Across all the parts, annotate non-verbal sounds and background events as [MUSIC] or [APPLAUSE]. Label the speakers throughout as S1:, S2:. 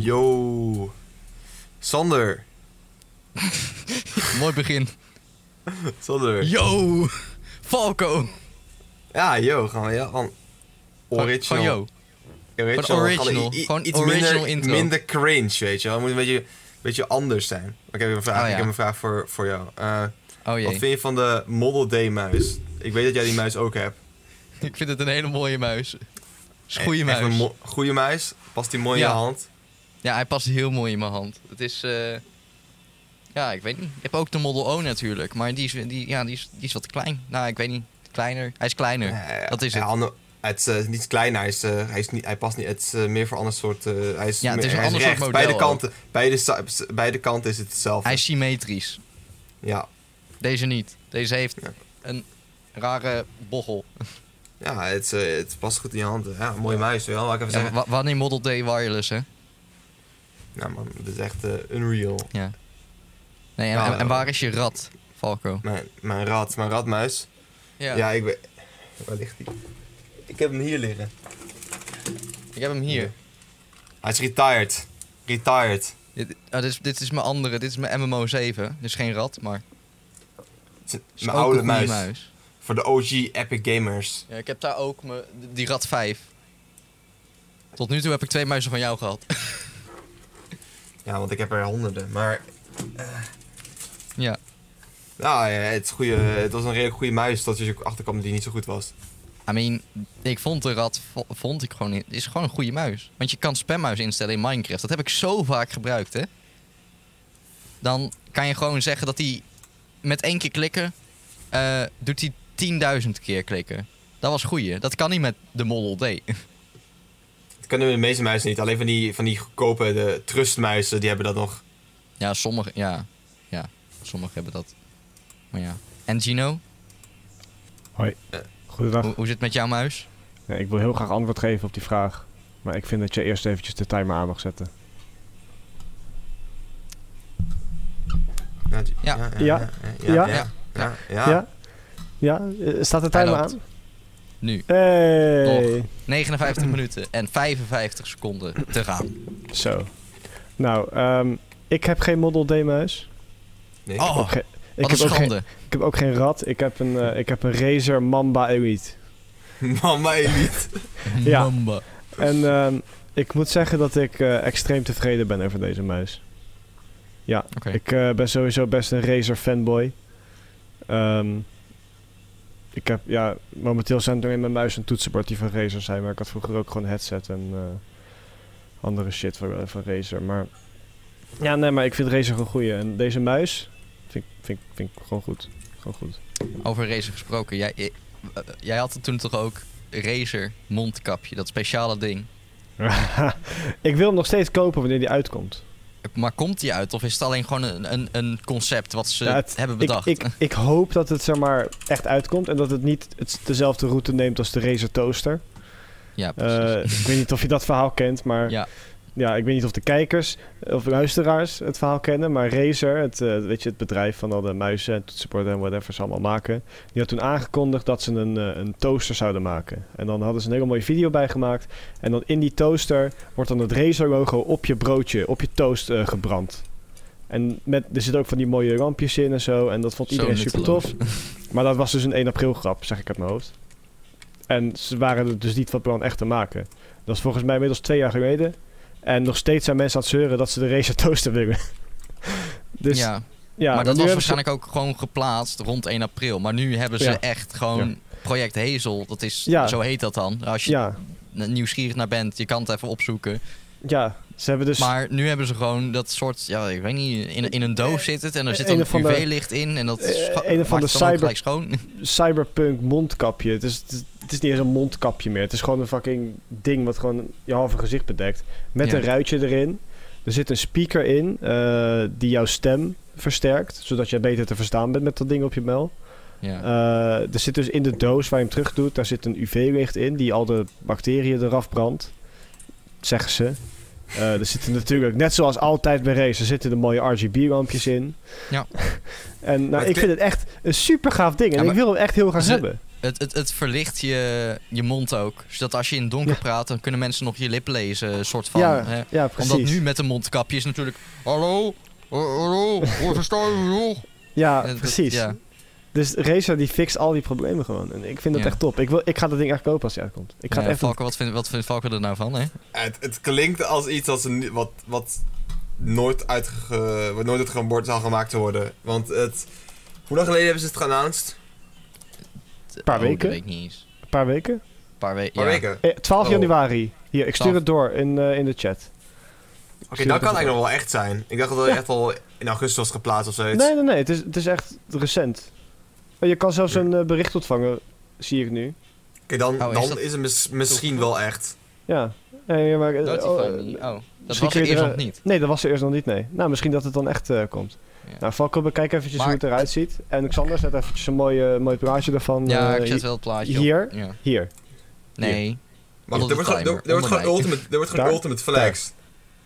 S1: Yo. Sander.
S2: Mooi begin.
S1: Sander.
S2: Yo, Falco.
S1: Ja, yo. Gewoon, ja, gewoon original.
S2: Van yo.
S1: Original.
S2: Van original.
S1: Gewoon i- i-
S2: Gewoon
S1: iets
S2: original
S1: minder,
S2: intro.
S1: Minder cringe, weet je wel. Het moet een beetje, beetje anders zijn. Ik heb een vraag,
S2: Oh, ja.
S1: ik heb een vraag voor, voor jou. Eh,
S2: Oh
S1: wat
S2: jee.
S1: vind je van de Model D muis? Ik weet dat jij die muis ook hebt.
S2: Ik vind het een hele mooie muis. Is een goede
S1: Echt
S2: muis.
S1: Een mo- goede muis. Past die mooi
S2: Ja.
S1: in je hand.
S2: ja, hij past heel mooi in mijn hand. Het is... eh, Ja, ik weet niet. Ik heb ook de Model O natuurlijk. Maar die is, die, ja, die is, die is wat klein. Nou, ik weet niet. Kleiner. Hij is kleiner.
S1: Eh,
S2: dat is het.
S1: ja, ander- het is eh, niet klein, hij, is, eh, hij, is niet, hij past niet. Het is eh, meer voor ander soort. eh, hij is
S2: Ja, het
S1: meer-
S2: is een
S1: hij
S2: ander soort
S1: recht.
S2: model
S1: Beide
S2: ook.
S1: kanten, beide, sa- beide kanten is het hetzelfde.
S2: Hij is symmetrisch.
S1: Ja,
S2: Deze niet. Deze heeft
S1: Ja.
S2: een rare bochel.
S1: ja het, is, eh, het past goed in je hand. Ja, mooie muis, wel. Laat ik even
S2: Ja,
S1: zeggen.
S2: wa- wanneer Model D wireless, hè?
S1: Nou man, dit is echt eh, unreal.
S2: Ja. Nee, en,
S1: Ja,
S2: en- en
S1: eh,
S2: waar is je rat, Falco?
S1: Mijn, mijn rat, mijn ratmuis. Ja, ik weet. Waar ligt die? Ik heb hem hier liggen.
S2: Ik heb hem hier.
S1: Hij is retired. Retired.
S2: Dit, ah, dit, is, dit is mijn andere, dit is mijn MMO 7. Dus geen rat, maar. het
S1: Het is
S2: is
S1: Mijn
S2: ook
S1: oude
S2: een goede
S1: muis. Voor de OG Epic Gamers.
S2: Ja, ik heb daar ook me, die rat 5. Tot nu toe heb ik twee muizen van jou gehad.
S1: Ja, want ik heb er honderden. Maar
S2: [LAUGHS] ja.
S1: Nou, ja, het, is een goede, het was een redelijk goede muis dat je achter kwam dat die niet zo goed was.
S2: I mean, ik vond de rat vo- vond ik gewoon, niet- is gewoon een goede muis. Want je kan spammuis instellen in Minecraft. Dat heb ik zo vaak gebruikt, hè. Dan kan je gewoon zeggen dat hij met één keer klikken, eh, doet hij 10.000 keer klikken. Dat was goeie. Dat kan niet met de Model D.
S1: Dat kunnen de meeste muizen niet. Alleen van die, van die goedkope de trustmuizen, die hebben dat nog.
S2: Ja, sommige, ja. Ja, sommigen hebben dat. Maar ja. En Gino,
S3: Hoi.
S1: Eh.
S3: Goedendag.
S2: hoe, hoe zit het met jouw muis?
S3: Ja, ik wil heel graag antwoord geven op die vraag. Maar ik vind dat je eerst eventjes de timer aan mag zetten.
S1: Ja.
S2: Ja.
S3: Ja.
S1: Ja. Ja.
S3: Ja.
S1: Ja.
S3: Ja? Ja? Eh, staat de
S2: Hij
S3: timer
S2: loopt.
S3: aan?
S2: Nu.
S3: Hey!
S2: 59 minuten en 55 seconden te gaan.
S3: Zo. Nou, ehm, ik heb geen Model D-muis.
S1: Nee.
S2: Oh,
S3: Ook ge- ik,
S2: Wat
S3: heb
S2: een
S3: ook geen,
S2: schande.
S3: ik heb ook geen rat. Ik heb een, eh, ik heb een Razer Mamba E Elite.
S1: [LAUGHS] Mama Elite.
S3: Ja.
S2: Mamba.
S3: En ehm, ik moet zeggen dat ik eh, extreem tevreden ben over deze muis. Ja,
S2: Oké.
S3: ik eh, ben sowieso best een Razer fanboy. Ehm, ik heb, ja, momenteel zijn er in mijn muis en toetsenbord die van Razer zijn, maar ik had vroeger ook gewoon headset en eh, andere shit van, van Razer. Maar ja, nee, maar ik vind Razer gewoon goeie. En deze muis vind, ik- vind, ik- vind ik gewoon goed. Gewoon goed.
S2: Over Razer gesproken. Jij, eh, eh, jij had toen toch ook Razer mondkapje, dat speciale ding.
S3: ik wil hem nog steeds kopen wanneer die uitkomt.
S2: Maar komt die uit of is het alleen gewoon een, een, een concept wat ze
S3: Ja, het-
S2: hebben bedacht?
S3: Ik, ik, ik hoop dat het zeg maar, echt uitkomt en dat het niet het, dezelfde route neemt als de Razer Toaster.
S2: ja,
S3: Eh,
S2: precies.
S3: ik weet niet of je dat verhaal kent, maar
S2: Ja.
S3: ja. ik weet niet of de kijkers of luisteraars het verhaal kennen. Maar Razer, het, eh, weet je, het bedrijf van al de muizen en toetsenborden en whatever ze allemaal maken, die had toen aangekondigd dat ze een, eh, een toaster zouden maken. En dan hadden ze een hele mooie video bij gemaakt. En dan in die toaster wordt dan het Razer logo op je broodje, op je toast eh, gebrand. En met, er zitten ook van die mooie rampjes in en zo. En dat vond
S2: Zo
S3: iedereen super
S2: nutteloos.
S3: tof. [LAUGHS] Maar dat was dus een 1 april grap, zeg ik uit mijn hoofd. En ze waren er dus niet van plan echt te maken. Dat is volgens mij inmiddels twee jaar geleden. En nog steeds zijn mensen aan het zeuren dat ze de Razer Toaster willen. [LAUGHS] Dus ja,
S2: ja. maar dat
S3: nu
S2: was
S3: hebben ze-
S2: waarschijnlijk ook gewoon geplaatst rond 1 april. Maar nu hebben ze
S3: Ja.
S2: echt gewoon Project Hazel. Dat is,
S3: Ja.
S2: zo heet dat dan. Als je
S3: Ja,
S2: n- nieuwsgierig naar bent, je kan het even opzoeken.
S3: ja, ze hebben dus...
S2: Maar nu hebben ze gewoon dat soort, ja, ik weet niet, in, in een doof zit het. En er zit
S3: Eh, een
S2: dan
S3: of ander-
S2: UV-licht in. En dat
S3: eh,
S2: scho-
S3: een of
S2: maakt
S3: ander
S2: het dan ook
S3: cyber-
S2: gelijk schoon. [LAUGHS]
S3: cyberpunk mondkapje. Het is, het, is, het is niet eens een mondkapje meer. Het is gewoon een fucking ding wat gewoon je halve gezicht bedekt. Met
S2: Ja.
S3: een ruitje erin. Er zit een speaker in eh, die jouw stem versterkt. Zodat je beter te verstaan bent met dat ding op je mel.
S2: Ja.
S3: Eh, er zit dus in de doos waar je hem terug doet, daar zit een UV-licht in die al de bacteriën eraf brandt. Zeggen ze. Eh, er zitten natuurlijk, net zoals altijd bij race, er zitten de mooie RGB-lampjes in.
S2: Ja.
S3: en
S1: Maar
S3: [LAUGHS] nou,
S1: het
S3: ik vind het echt een super gaaf ding. En
S2: Ja,
S3: ik wil hem echt heel graag
S2: Ze-
S3: hebben.
S2: Het, het, het verlicht je, je mond ook. Zodat als je in het donker
S3: Ja.
S2: praat, dan kunnen mensen nog je lip lezen, soort van.
S3: ja,
S2: hè.
S3: ja, precies.
S2: Omdat nu met een mondkapje is natuurlijk... Hallo? Eh, Hallo? Hoe verstaan je nog?
S3: Ja,
S2: Eh, dat-
S3: precies.
S2: ja.
S3: Dus Razer die fixt al die problemen gewoon. En ik vind dat
S2: Ja.
S3: echt top. Ik, wil, ik ga dat ding echt kopen als hij uitkomt. Ik ga
S2: Ja,
S3: het echt
S2: Valken, wat, vindt, wat vindt Valken er nou van, hè?
S1: Het, het klinkt als iets als een, wat, wat nooit uitge, wat nooit uit het bord zal gemaakt worden. Want het, hoe lang geleden hebben ze het geannounced?
S2: Een
S3: paar
S2: Dat
S3: weken.
S2: weet ik niet eens.
S3: een paar weken.
S2: Een paar weken.
S1: Een paar
S2: ja.
S1: weken.
S3: Eh, 12
S1: Oh.
S3: januari. Hier, ik stuur
S2: 12.
S3: het door in, eh, in de chat.
S1: Oké, dat kan eigenlijk nog wel echt zijn. Ik dacht dat het
S3: Ja.
S1: echt al in augustus was geplaatst of zoiets.
S3: Nee, nee, nee. Het is, het is echt recent. Maar je kan zelfs
S1: Ja.
S3: een eh, bericht ontvangen, zie ik nu.
S1: Oké, dan,
S2: Oh, is
S1: dan is,
S2: dat-
S1: het mis- misschien wel echt.
S3: Ja. Ja, ja, maar, eh, oh, eh,
S2: Notify me. Oh, dat
S3: misschien
S2: was
S3: kun
S2: er
S3: je
S2: eerst
S3: er-
S2: nog niet.
S3: nee, dat was er eerst nog niet, nee. Nou, misschien dat het dan echt eh, komt.
S2: Ja.
S3: Nou, Valko, bekijk eventjes
S2: Maar-
S3: hoe het eruit ziet. En Xander, zet eventjes een mooie, mooi plaatje daarvan
S2: Ja,
S3: eh,
S2: ik zet
S3: hi-
S2: wel het plaatje op.
S3: hier.
S2: Ja.
S3: Hier.
S2: Nee.
S1: Maar goed,
S2: Onder
S1: er
S2: de
S1: wordt, gewoon- er,
S2: timer,
S1: er wordt gewoon
S2: onder mij.
S1: ultimate, er wordt gewoon
S3: Daar?
S1: ultimate flex.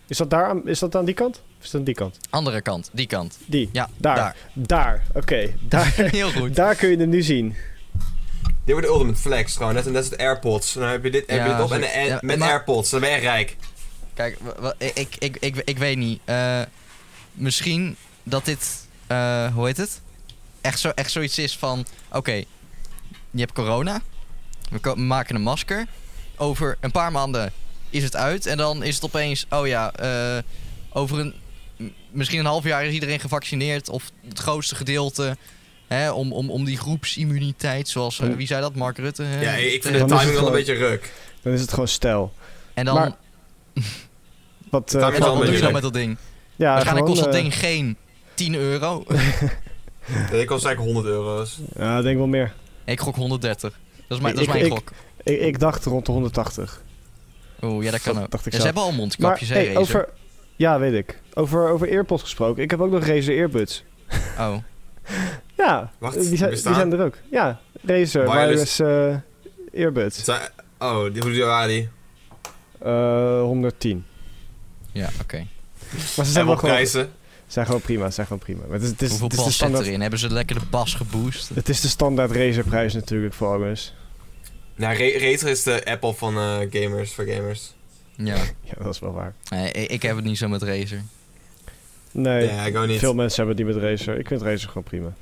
S3: Is dat daar aan, is dat aan die kant? Of is dat aan die kant?
S2: Andere kant. Die kant.
S3: Die.
S2: Ja,
S3: Daar. Daar. Oké.
S2: [LAUGHS]
S3: [LAUGHS] Daar,
S2: Heel goed.
S3: daar kun je hem nu zien.
S1: Dit wordt ultimate flex gewoon, net, net als het AirPods. En dan heb je dit, heb
S2: Ja,
S1: je dit op en,
S2: zo-
S1: en-
S2: ja,
S1: met
S2: maar-
S1: AirPods, dan ben je rijk.
S2: Kijk, wa- wa- ik, ik, ik, ik, ik weet niet. Eh, misschien dat dit, eh, hoe heet het? Echt, zo, echt zoiets is van: oké, je hebt corona. We ko- maken een masker. Over een paar maanden is het uit. En dan is het opeens: oh ja, eh, over een. m- Misschien een half jaar is iedereen gevaccineerd. Of het grootste gedeelte. Hè, om, om, om die groepsimmuniteit. Zoals eh,
S3: Hmm.
S2: wie zei dat? Mark Rutte. hè?
S1: Ja, ik vind
S2: Eh,
S1: de
S3: Dan is het
S1: timing wel een
S3: gewoon-
S1: beetje ruk.
S3: Dan is het gewoon stijl.
S2: En dan.
S3: maar- Wat, eh,
S1: Daar is
S2: wat
S1: al een
S2: doe je
S1: beetje
S2: dan
S1: leuk.
S2: met dat ding?
S3: ja,
S2: Waarschijnlijk
S3: gewoon,
S2: kost dat
S3: eh,
S2: ding geen 10 euro. [LAUGHS]
S1: Dit kost eigenlijk 100 euro's.
S3: Ja, ik denk wel meer.
S2: ik gok 130. Dat is mijn, dat
S3: Ik-
S2: is mijn
S3: ik-
S2: gok.
S3: Ik, ik dacht rond de 180.
S2: Oeh, ja, dat kan
S3: dat
S2: ook.
S3: dacht ik
S2: Ja, ze
S3: zelf.
S2: hebben al
S3: Maar
S2: mondkapjes, hè,
S3: hey,
S2: Razer?
S3: over... Ja, weet ik. Over, over earpods gesproken. Ik heb ook nog Razer earbuds.
S2: Oh,
S3: Ja,
S1: Wacht,
S3: die, zijn, die
S1: bestaan?
S3: zijn er ook. Ja, Razer wireless,
S1: Wireless.
S3: eh, earbuds.
S1: Het zijn- Oh, die, hoe duur waren die?
S3: Eh, 110.
S2: ja, oké.
S3: Dus Maar ze
S1: Zijn
S3: zijn
S1: we
S3: wel
S1: op
S3: gewoon,
S1: prijzen?
S3: zijn gewoon prima, ze zijn gewoon prima. Maar het is, het is,
S2: Hoeveel
S3: het is de
S2: bas zit
S3: standaard,
S2: erin? Hebben ze lekker de bas geboost?
S3: het is de standaard Razer prijs natuurlijk voor alles.
S1: Nou, Ra- Razer is de Apple van eh, gamers, voor gamers.
S2: Ja,
S3: Ja, dat is wel waar.
S2: nee, ik, ik heb het niet zo met Razer.
S3: Nee,
S1: Ja, ik ook niet.
S3: veel mensen hebben die met Razer. Ik vind Razer gewoon prima.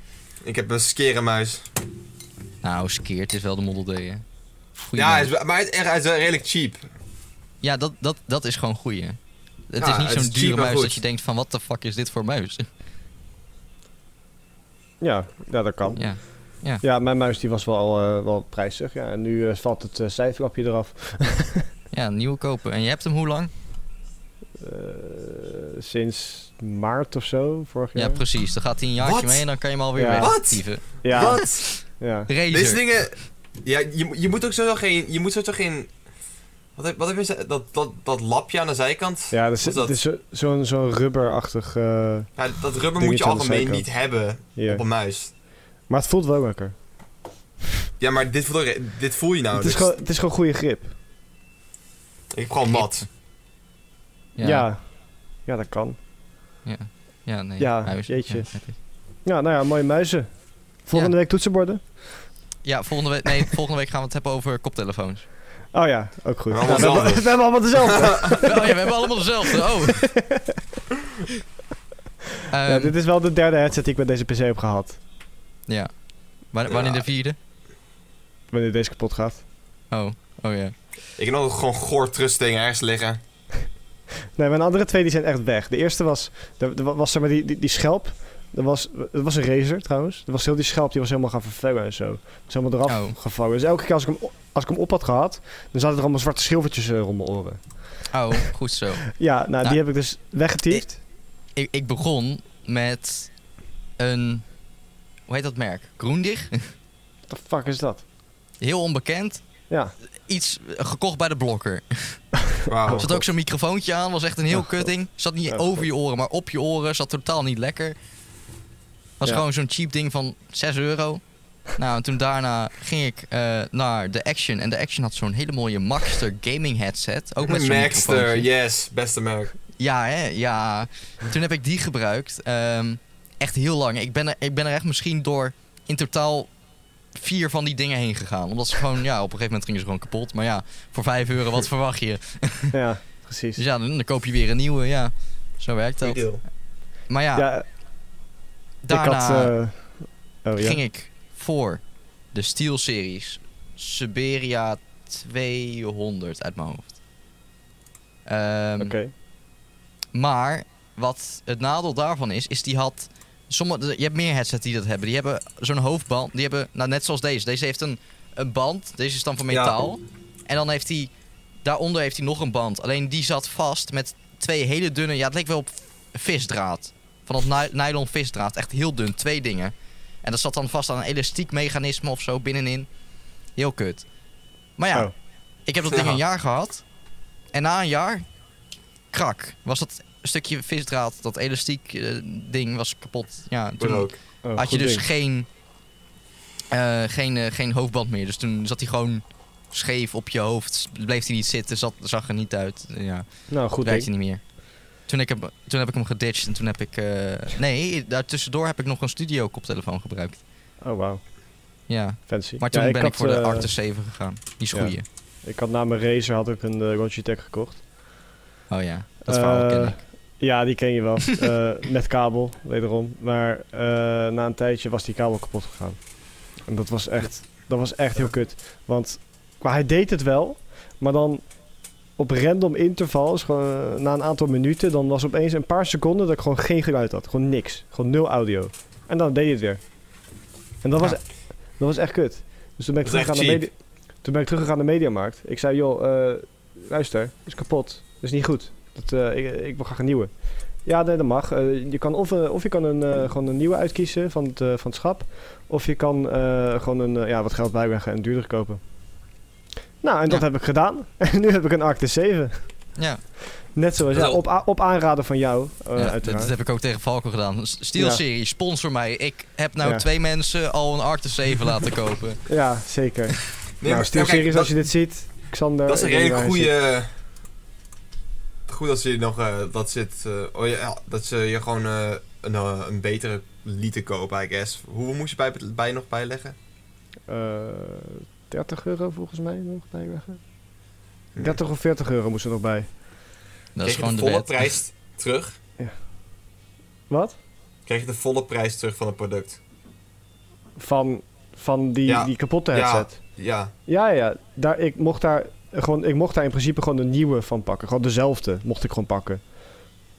S1: Ik heb een skere muis.
S2: Nou, Skeert is wel de Model D, hè? Goeie
S1: ja,
S2: man.
S1: hij is, maar hij is, echt- hij is wel redelijk cheap.
S2: ja dat, dat, dat is gewoon goeie. Het
S1: Ja,
S2: is niet
S1: het
S2: zo'n
S1: is cheap,
S2: dure
S1: maar
S2: muis
S1: goed.
S2: dat je denkt van, wat de fuck is dit voor
S3: [LAUGHS]
S2: muis?
S3: Ja, ja dat kan.
S2: ja.
S3: Ja, mijn muis die was wel, eh, wel prijzig. Ja. En nu eh, valt het eh, cijferlapje eraf.
S2: ja, een nieuwe kopen. En je hebt hem hoe lang?
S3: Eh, sinds maart of zo, vorig
S2: Ja,
S3: jaar.
S2: precies. Dan gaat hij een jaartje
S1: Wat?
S2: mee en dan kan je hem alweer
S3: Ja.
S2: weer
S1: Wat?
S2: actieve.
S3: ja,
S1: Wat?
S3: ja.
S2: Razer.
S1: Deze dingen... Ja, je, je moet ook sowieso geen... Je moet sowieso geen... Wat heb, wat heb je... ze- Dat, dat, dat lapje aan de zijkant? Ja,
S3: Ja, er zit-
S1: is dat?
S3: er is zo- zo'n zo'n rubberachtig... eh,
S1: dat rubber moet je
S3: Dingetje aan de
S1: algemeen
S3: zijkant.
S1: niet hebben
S3: hier.
S1: op een muis.
S3: Maar het voelt wel lekker.
S1: Ja, maar dit voel, dit voel je nou.
S3: het, is
S1: dus
S3: gewoon, het is gewoon goede grip.
S1: Ik heb gewoon mat.
S3: Ja. ja. dat kan.
S2: Ja, ja nee.
S3: Ja,
S2: muizen.
S3: jeetje.
S2: Ja, oké.
S3: Ja, nou ja, mooie muizen. Volgende week toetsenborden?
S2: Ja, volgende, week, nee, [LAUGHS] volgende week gaan we het hebben over koptelefoons.
S3: [LAUGHS] Oh ja, ook goed.
S1: We hebben
S3: Nou,
S1: allemaal
S3: we, hebben,
S1: dezelfde.
S3: [LAUGHS] we hebben allemaal dezelfde.
S2: oh ja, we hebben allemaal dezelfde. Oh. Ehm,
S3: ja, dit is wel de derde headset die ik met deze PC heb gehad.
S2: ja. Wa- Wanneer de vierde?
S3: Wanneer deze kapot gaat.
S2: Oh, oh ja.
S1: Ik heb nog gewoon goor trustdingen ergens liggen.
S3: Nee, mijn andere twee die zijn echt weg. De eerste was, er, er was zeg maar die, die, die schelp. Er was, er was een razer trouwens. Er was heel die schelp, die was helemaal gaan vervangen en zo. Was helemaal eraf
S2: Oh.
S3: gevangen. Dus elke keer als ik, hem, o- als ik hem op had gehad, dan zaten er allemaal zwarte schilfertjes eh, rond mijn oren.
S2: Oh, goed zo.
S3: Ja, nou,
S2: Nou,
S3: die heb ik dus weggetiefd.
S2: Ik, ik begon met een... Hoe heet dat merk? Groendig?
S3: What the fuck is dat?
S2: Heel onbekend.
S3: Ja.
S2: Iets eh, gekocht bij de blokker.
S1: Wauw.
S2: Er zat ook zo'n microfoontje aan, was echt een heel
S3: Oh, God.
S2: kutting. Zat niet
S3: Oh,
S2: over
S3: God.
S2: je oren, maar op je oren. Zat totaal niet lekker. Was
S3: Ja.
S2: gewoon zo'n cheap ding van 6 euro. Nou, en toen daarna ging ik eh, naar de Action. En de Action had zo'n hele mooie Maxter gaming headset. Ook met zo'n
S1: Maxter,
S2: microfoontje.
S1: yes. Beste merk.
S2: Ja, hè? Ja. Toen heb ik die gebruikt. Ehm, echt heel lang. Ik ben, er, ik ben er echt misschien door in totaal vier van die dingen heen gegaan. Omdat ze gewoon, ja, op een gegeven moment gingen ze gewoon kapot. Maar ja, voor 5 euro, wat verwacht je?
S3: ja, precies.
S2: Dus ja, dan, dan koop je weer een nieuwe, ja. Zo werkt
S1: Goed
S2: dat.
S1: deal.
S2: Maar ja,
S3: Ja,
S2: daarna
S3: ik had... eh, oh ja,
S2: ging ik voor de Steel Series Siberia 200 uit mijn hoofd. Ehm,
S3: oké.
S2: Maar wat het nadeel daarvan is, is die had. Sommige, je hebt meer headsets die dat hebben. Die hebben zo'n hoofdband. Die hebben, nou, net zoals deze. Deze heeft een, een band. Deze is dan van
S1: Ja.
S2: metaal. En dan heeft hij. Daaronder heeft hij nog een band. Alleen die zat vast met twee hele dunne. Ja, het leek wel op visdraad. Van dat ny- nylon visdraad. Echt heel dun. Twee dingen. En dat zat dan vast aan een elastiek mechanisme of zo binnenin. Heel kut. Maar ja,
S3: Oh.
S2: ik heb dat ding
S1: Ja.
S2: een jaar gehad. En na een jaar, krak, was dat stukje visdraad, dat elastiek eh, ding was kapot. Ja,
S1: Toen
S2: toen
S1: ook.
S3: Oh,
S2: had je
S3: goed
S2: dus
S3: ding.
S2: geen, eh, geen, eh, geen hoofdband meer. Dus toen zat hij gewoon scheef op je hoofd. Bleef hij niet zitten, zat, zag er niet uit. Ja,
S3: Nou, goed
S2: werkte
S3: ding.
S2: niet meer. Toen, ik heb, toen heb ik hem geditcht en toen heb ik... eh, nee, daartussendoor heb ik nog een studio koptelefoon gebruikt.
S3: Oh, wauw.
S2: Ja,
S3: Fancy.
S2: maar toen
S3: Ja,
S2: ben ik
S3: had,
S2: voor de
S3: eh,
S2: Arctis 7 gegaan. Die is
S3: ja.
S2: goeie.
S3: Ik had na mijn racer had ik een eh, Logitech gekocht.
S2: Oh ja, dat verhaal ken
S3: Eh,
S2: ik.
S3: Ja, die ken je wel. Eh, met kabel, wederom. Maar eh, na een tijdje was die kabel kapot gegaan. En dat was echt, dat was echt heel kut. Want maar hij deed het wel, maar dan op random intervals, gewoon, eh, na een aantal minuten, dan was opeens een paar seconden dat ik gewoon geen geluid had. Gewoon niks. Gewoon nul audio. En dan deed hij het weer. En dat was,
S2: Ja.
S3: dat was echt kut. Dus toen ben ik
S1: Dat is
S3: teruggegaan
S1: echt
S3: naar, Medi- toen ben ik teruggegaan naar Mediamarkt. Ik zei, joh, eh, luister, het is kapot. Dat is niet goed. Dat, eh, ik, ik wil graag een nieuwe. Ja, nee, dat mag. Eh, je kan of, eh, of je kan een, eh, gewoon een nieuwe uitkiezen van het, eh, van het schap. Of je kan eh, gewoon een, eh, ja, wat geld bijleggen en duurder kopen. Nou, en dat
S2: Ja.
S3: heb ik gedaan. [LAUGHS] En nu heb ik een Arctis 7.
S2: Ja.
S3: Net zoals, ja,
S1: Wel-
S3: op, a- op aanraden van jou, eh,
S2: Ja, dat,
S3: uiteraard.
S2: dat heb ik ook tegen Valko gedaan. S- Steel
S3: Ja.
S2: Series, sponsor mij. Ik heb nou
S3: Ja.
S2: twee mensen al een Arctis 7 laten kopen.
S3: Ja, zeker.
S1: Nee,
S3: nou,
S1: maar-
S3: stil
S1: ja, kijk,
S3: serieus
S1: dat-
S3: als je eh, dit ziet. Xander.
S1: Dat is een
S3: ik weet niet
S1: redelijk
S3: waar hij zit.
S1: goede. Goed dat ze je nog eh, dat zit. eh, oh ja, ja, dat ze je gewoon eh, een, eh, een betere liter kopen, I guess. Hoeveel moest je bij, bij nog bijleggen?
S3: Eh, 30 euro volgens mij nog bijleggen. 30 of 40 euro moest er nog bij.
S2: Dat
S1: Kreeg
S2: is
S1: je de
S2: gewoon de
S1: volle
S2: wet.
S1: prijs terug?
S3: Wat?
S1: Kreeg je de volle prijs terug van het product?
S3: Van, van die,
S1: Ja.
S3: die kapotte
S1: Ja.
S3: headset.
S1: Ja.
S3: Ja, ja. ja. Daar, ik, mocht daar, gewoon, ik mocht daar in principe gewoon een nieuwe van pakken. Gewoon dezelfde mocht ik gewoon pakken.